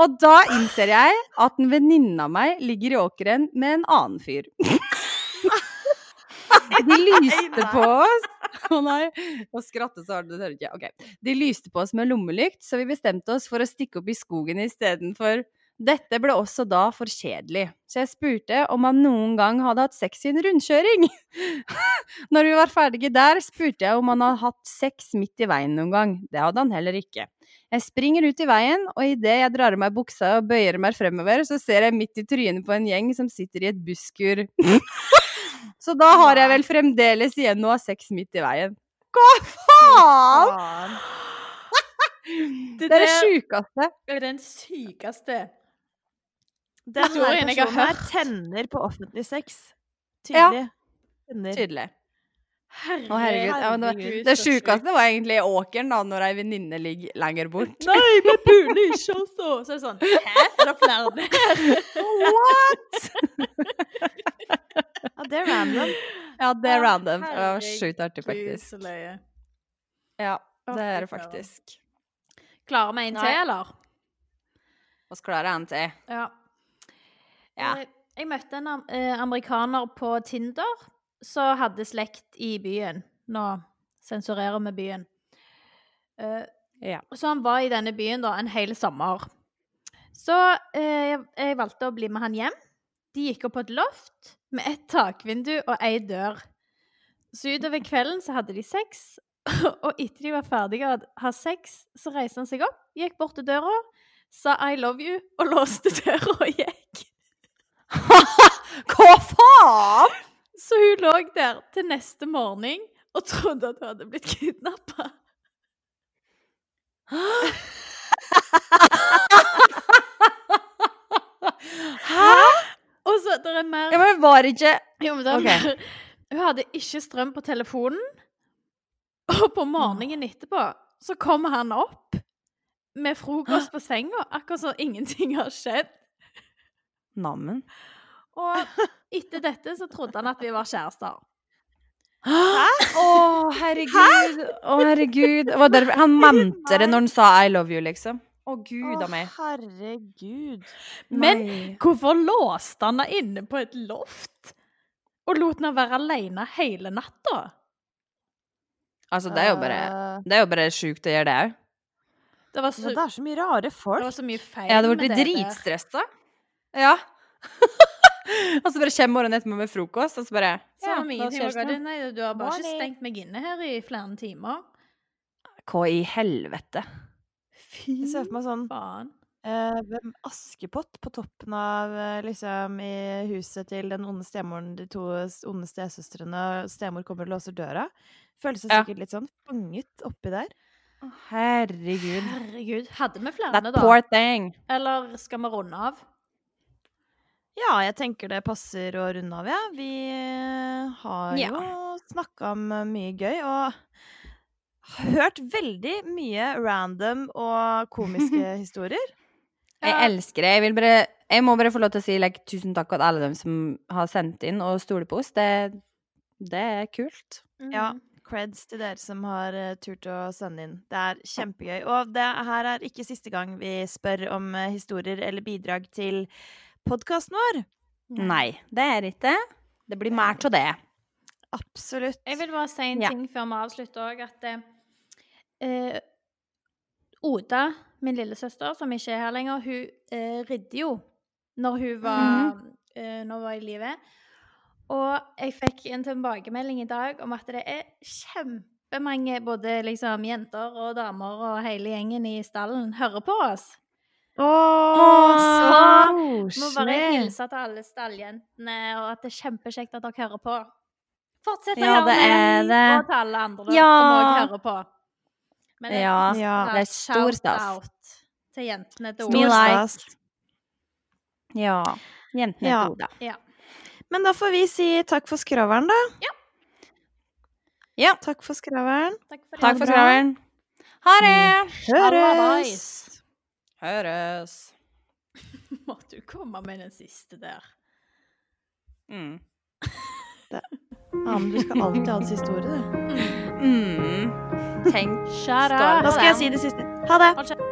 Speaker 1: og da innser jeg at en venninne av meg ligger i åkeren med en annen fyr. De lyste på oss Å nei. Og skratte så hardt, det hører ikke jeg. Ok. De lyste på oss med lommelykt, så vi bestemte oss for å stikke opp i skogen istedenfor. Dette ble også da for kjedelig, så jeg spurte om han noen gang hadde hatt sex i en rundkjøring. Når vi var ferdige der, spurte jeg om han hadde hatt sex midt i veien noen gang. Det hadde han heller ikke. Jeg springer ut i veien, og idet jeg drar av meg buksa og bøyer meg fremover, så ser jeg midt i trynet på en gjeng som sitter i et busskur. så da har jeg vel fremdeles igjen å ha sex midt i veien. Hva faen?!
Speaker 2: Faen.
Speaker 1: Det er det sjukeste.
Speaker 3: Det er den sykeste.
Speaker 2: Den
Speaker 3: Historien jeg har
Speaker 2: personen her
Speaker 3: hørt.
Speaker 2: tenner på offentlig sex.
Speaker 1: Ja.
Speaker 2: Tydelig. Tenner.
Speaker 1: Tydelig.
Speaker 3: Herregud.
Speaker 1: Å, herregud. Ja, men det var-
Speaker 3: herregud,
Speaker 1: Det
Speaker 3: så sykt.
Speaker 1: sjukeste var egentlig i åkeren, da, når ei venninne ligger lenger bort.
Speaker 3: Nei, vi burde ikke også! Så er det sånn Hæ? Er det flere her?
Speaker 2: Ja, det er random.
Speaker 1: Ja, det er
Speaker 3: Å,
Speaker 1: random. Det var sjukt artig,
Speaker 3: Gud, så
Speaker 1: faktisk.
Speaker 3: løye.
Speaker 1: Ja,
Speaker 3: Å,
Speaker 1: det er det
Speaker 3: fy søren.
Speaker 1: faktisk.
Speaker 3: Klarer vi en til,
Speaker 1: Nei.
Speaker 3: eller?
Speaker 1: Oss klarer en til.
Speaker 3: Ja.
Speaker 1: Ja.
Speaker 3: Eh, Jeg møtte en am- eh, amerikaner på Tinder som hadde slekt i byen. Nå sensurerer vi byen. Eh,
Speaker 1: Ja.
Speaker 3: Så han var i denne byen da en hel sommer. Så eh, jeg- jeg valgte å bli med han hjem. De gikk opp på et loft med et takvindu og ei dør. Så utover kvelden så hadde de sex, og etter de var ferdige å ha sex, så reiste han seg opp, gikk bort til døra, sa 'I love you' og låste døra og gikk.
Speaker 1: Hva faen?!
Speaker 3: Så hun lå der til neste morgen og trodde at hun hadde blitt kidnappa.
Speaker 1: Hæ?!
Speaker 3: Og så det er mer
Speaker 1: Ja, men var det ikke
Speaker 3: Jo, men det er
Speaker 1: Ok.
Speaker 3: mer Hun hadde ikke strøm på telefonen. Og på morgenen etterpå så kom han opp med frokost på senga, akkurat som ingenting har skjedd.
Speaker 1: Nammen.
Speaker 3: Og etter dette så trodde han at vi var kjærester.
Speaker 1: Hæ?! Å, herregud. Å, herregud. Det var derfor- han mente det når han sa 'I love you', liksom. Å, gud a
Speaker 2: Å,
Speaker 1: meg.
Speaker 2: herregud.
Speaker 3: Men
Speaker 1: Nei.
Speaker 3: hvorfor låste han henne inne på et loft? Og lot henne være alene hele natta?
Speaker 1: Altså, det er jo bare Det er jo bare sjukt å gjøre det òg.
Speaker 3: Det var
Speaker 2: Eh, men
Speaker 3: så,
Speaker 2: det er Eh, så mye rare
Speaker 3: det
Speaker 2: folk.
Speaker 3: var så mye feil
Speaker 1: Jeg hadde
Speaker 3: med
Speaker 1: blitt
Speaker 3: det der.
Speaker 1: dritstressa. Ja. og så bare kommer morgenen etterpå med frokost, og så bare
Speaker 3: Så
Speaker 1: ja,
Speaker 3: om
Speaker 1: da
Speaker 3: ingenting
Speaker 1: ses
Speaker 3: var
Speaker 1: vi.
Speaker 3: galt. Nei, du har bare ikke
Speaker 2: Morning.
Speaker 3: stengt meg inne her i flere timer.
Speaker 1: Hva i helvete?
Speaker 3: Fy
Speaker 2: Jeg ser for meg sånn
Speaker 3: faen.
Speaker 2: eh, hvem- Askepott på toppen av eh, liksom i huset til den onde stemoren, de to s- onde stesøstrene, og stemor kommer og låser døra. Føles det
Speaker 1: Ja.
Speaker 2: sikkert litt sånn fanget oppi der.
Speaker 1: Herregud.
Speaker 3: Herregud. Hadde vi flere,
Speaker 1: That
Speaker 3: da?
Speaker 1: poor thing.
Speaker 3: Eller skal vi runde av?
Speaker 2: Ja, jeg tenker det passer å runde av, ja. Vi eh, har
Speaker 3: Ja.
Speaker 2: jo snakka om eh, mye gøy, og hørt veldig mye random og komiske historier.
Speaker 1: Jeg
Speaker 3: Ja.
Speaker 1: elsker det. Jeg, vil bare, jeg må bare få lov til å si like, tusen takk til alle dem som har sendt inn og stoler på oss. Det, det er kult.
Speaker 2: Ja.
Speaker 3: Mm.
Speaker 2: Creds til dere som har eh, turt å sende inn. Det er kjempegøy. Og det her er ikke siste gang vi spør om eh, historier eller bidrag til podkasten vår.
Speaker 3: Mm.
Speaker 1: Nei, det er det ikke. Det blir mer av det.
Speaker 2: Absolutt.
Speaker 3: Jeg vil bare si en
Speaker 1: Ja.
Speaker 3: ting før vi avslutter òg, at eh, eh, Oda, min lillesøster, som ikke er her lenger, hun eh, ridde jo når hun var, eh, når hun var i live. Og jeg fikk en tilbakemelding i dag om at det er kjempemange både liksom, jenter og damer og hele gjengen i stallen hører på oss.
Speaker 2: Åh,
Speaker 3: Må bare hilse til alle stalljentene, og at det er kjempekjekt at dere hører på. Fortsett å
Speaker 1: Ja,
Speaker 3: høre
Speaker 1: det er det.
Speaker 3: og til alle andre som
Speaker 1: Ja.
Speaker 3: også hører på. Men jeg
Speaker 1: Ja,
Speaker 2: Ja,
Speaker 1: det er stor stas.
Speaker 3: shout-out til jentene til
Speaker 1: Smil.
Speaker 3: Oda.
Speaker 1: likes. Ja. Jentene
Speaker 2: Ja.
Speaker 1: til Oda.
Speaker 2: Men da får vi si takk for skravelen, da.
Speaker 1: Ja.
Speaker 2: Takk for skravelen.
Speaker 3: Takk for
Speaker 1: Takk
Speaker 3: det. Mm.
Speaker 1: for skravelen. Ha det!
Speaker 2: Høres!
Speaker 3: boys.
Speaker 1: Høres.
Speaker 3: Måtte du komme med den siste der.
Speaker 1: Mm.
Speaker 2: Anne, du skal alltid ha den siste ordet, du.
Speaker 1: Mm. Tenk.
Speaker 3: Shout
Speaker 1: Skål.
Speaker 2: Da skal jeg si det siste. Ha det!
Speaker 3: Hold kjeft.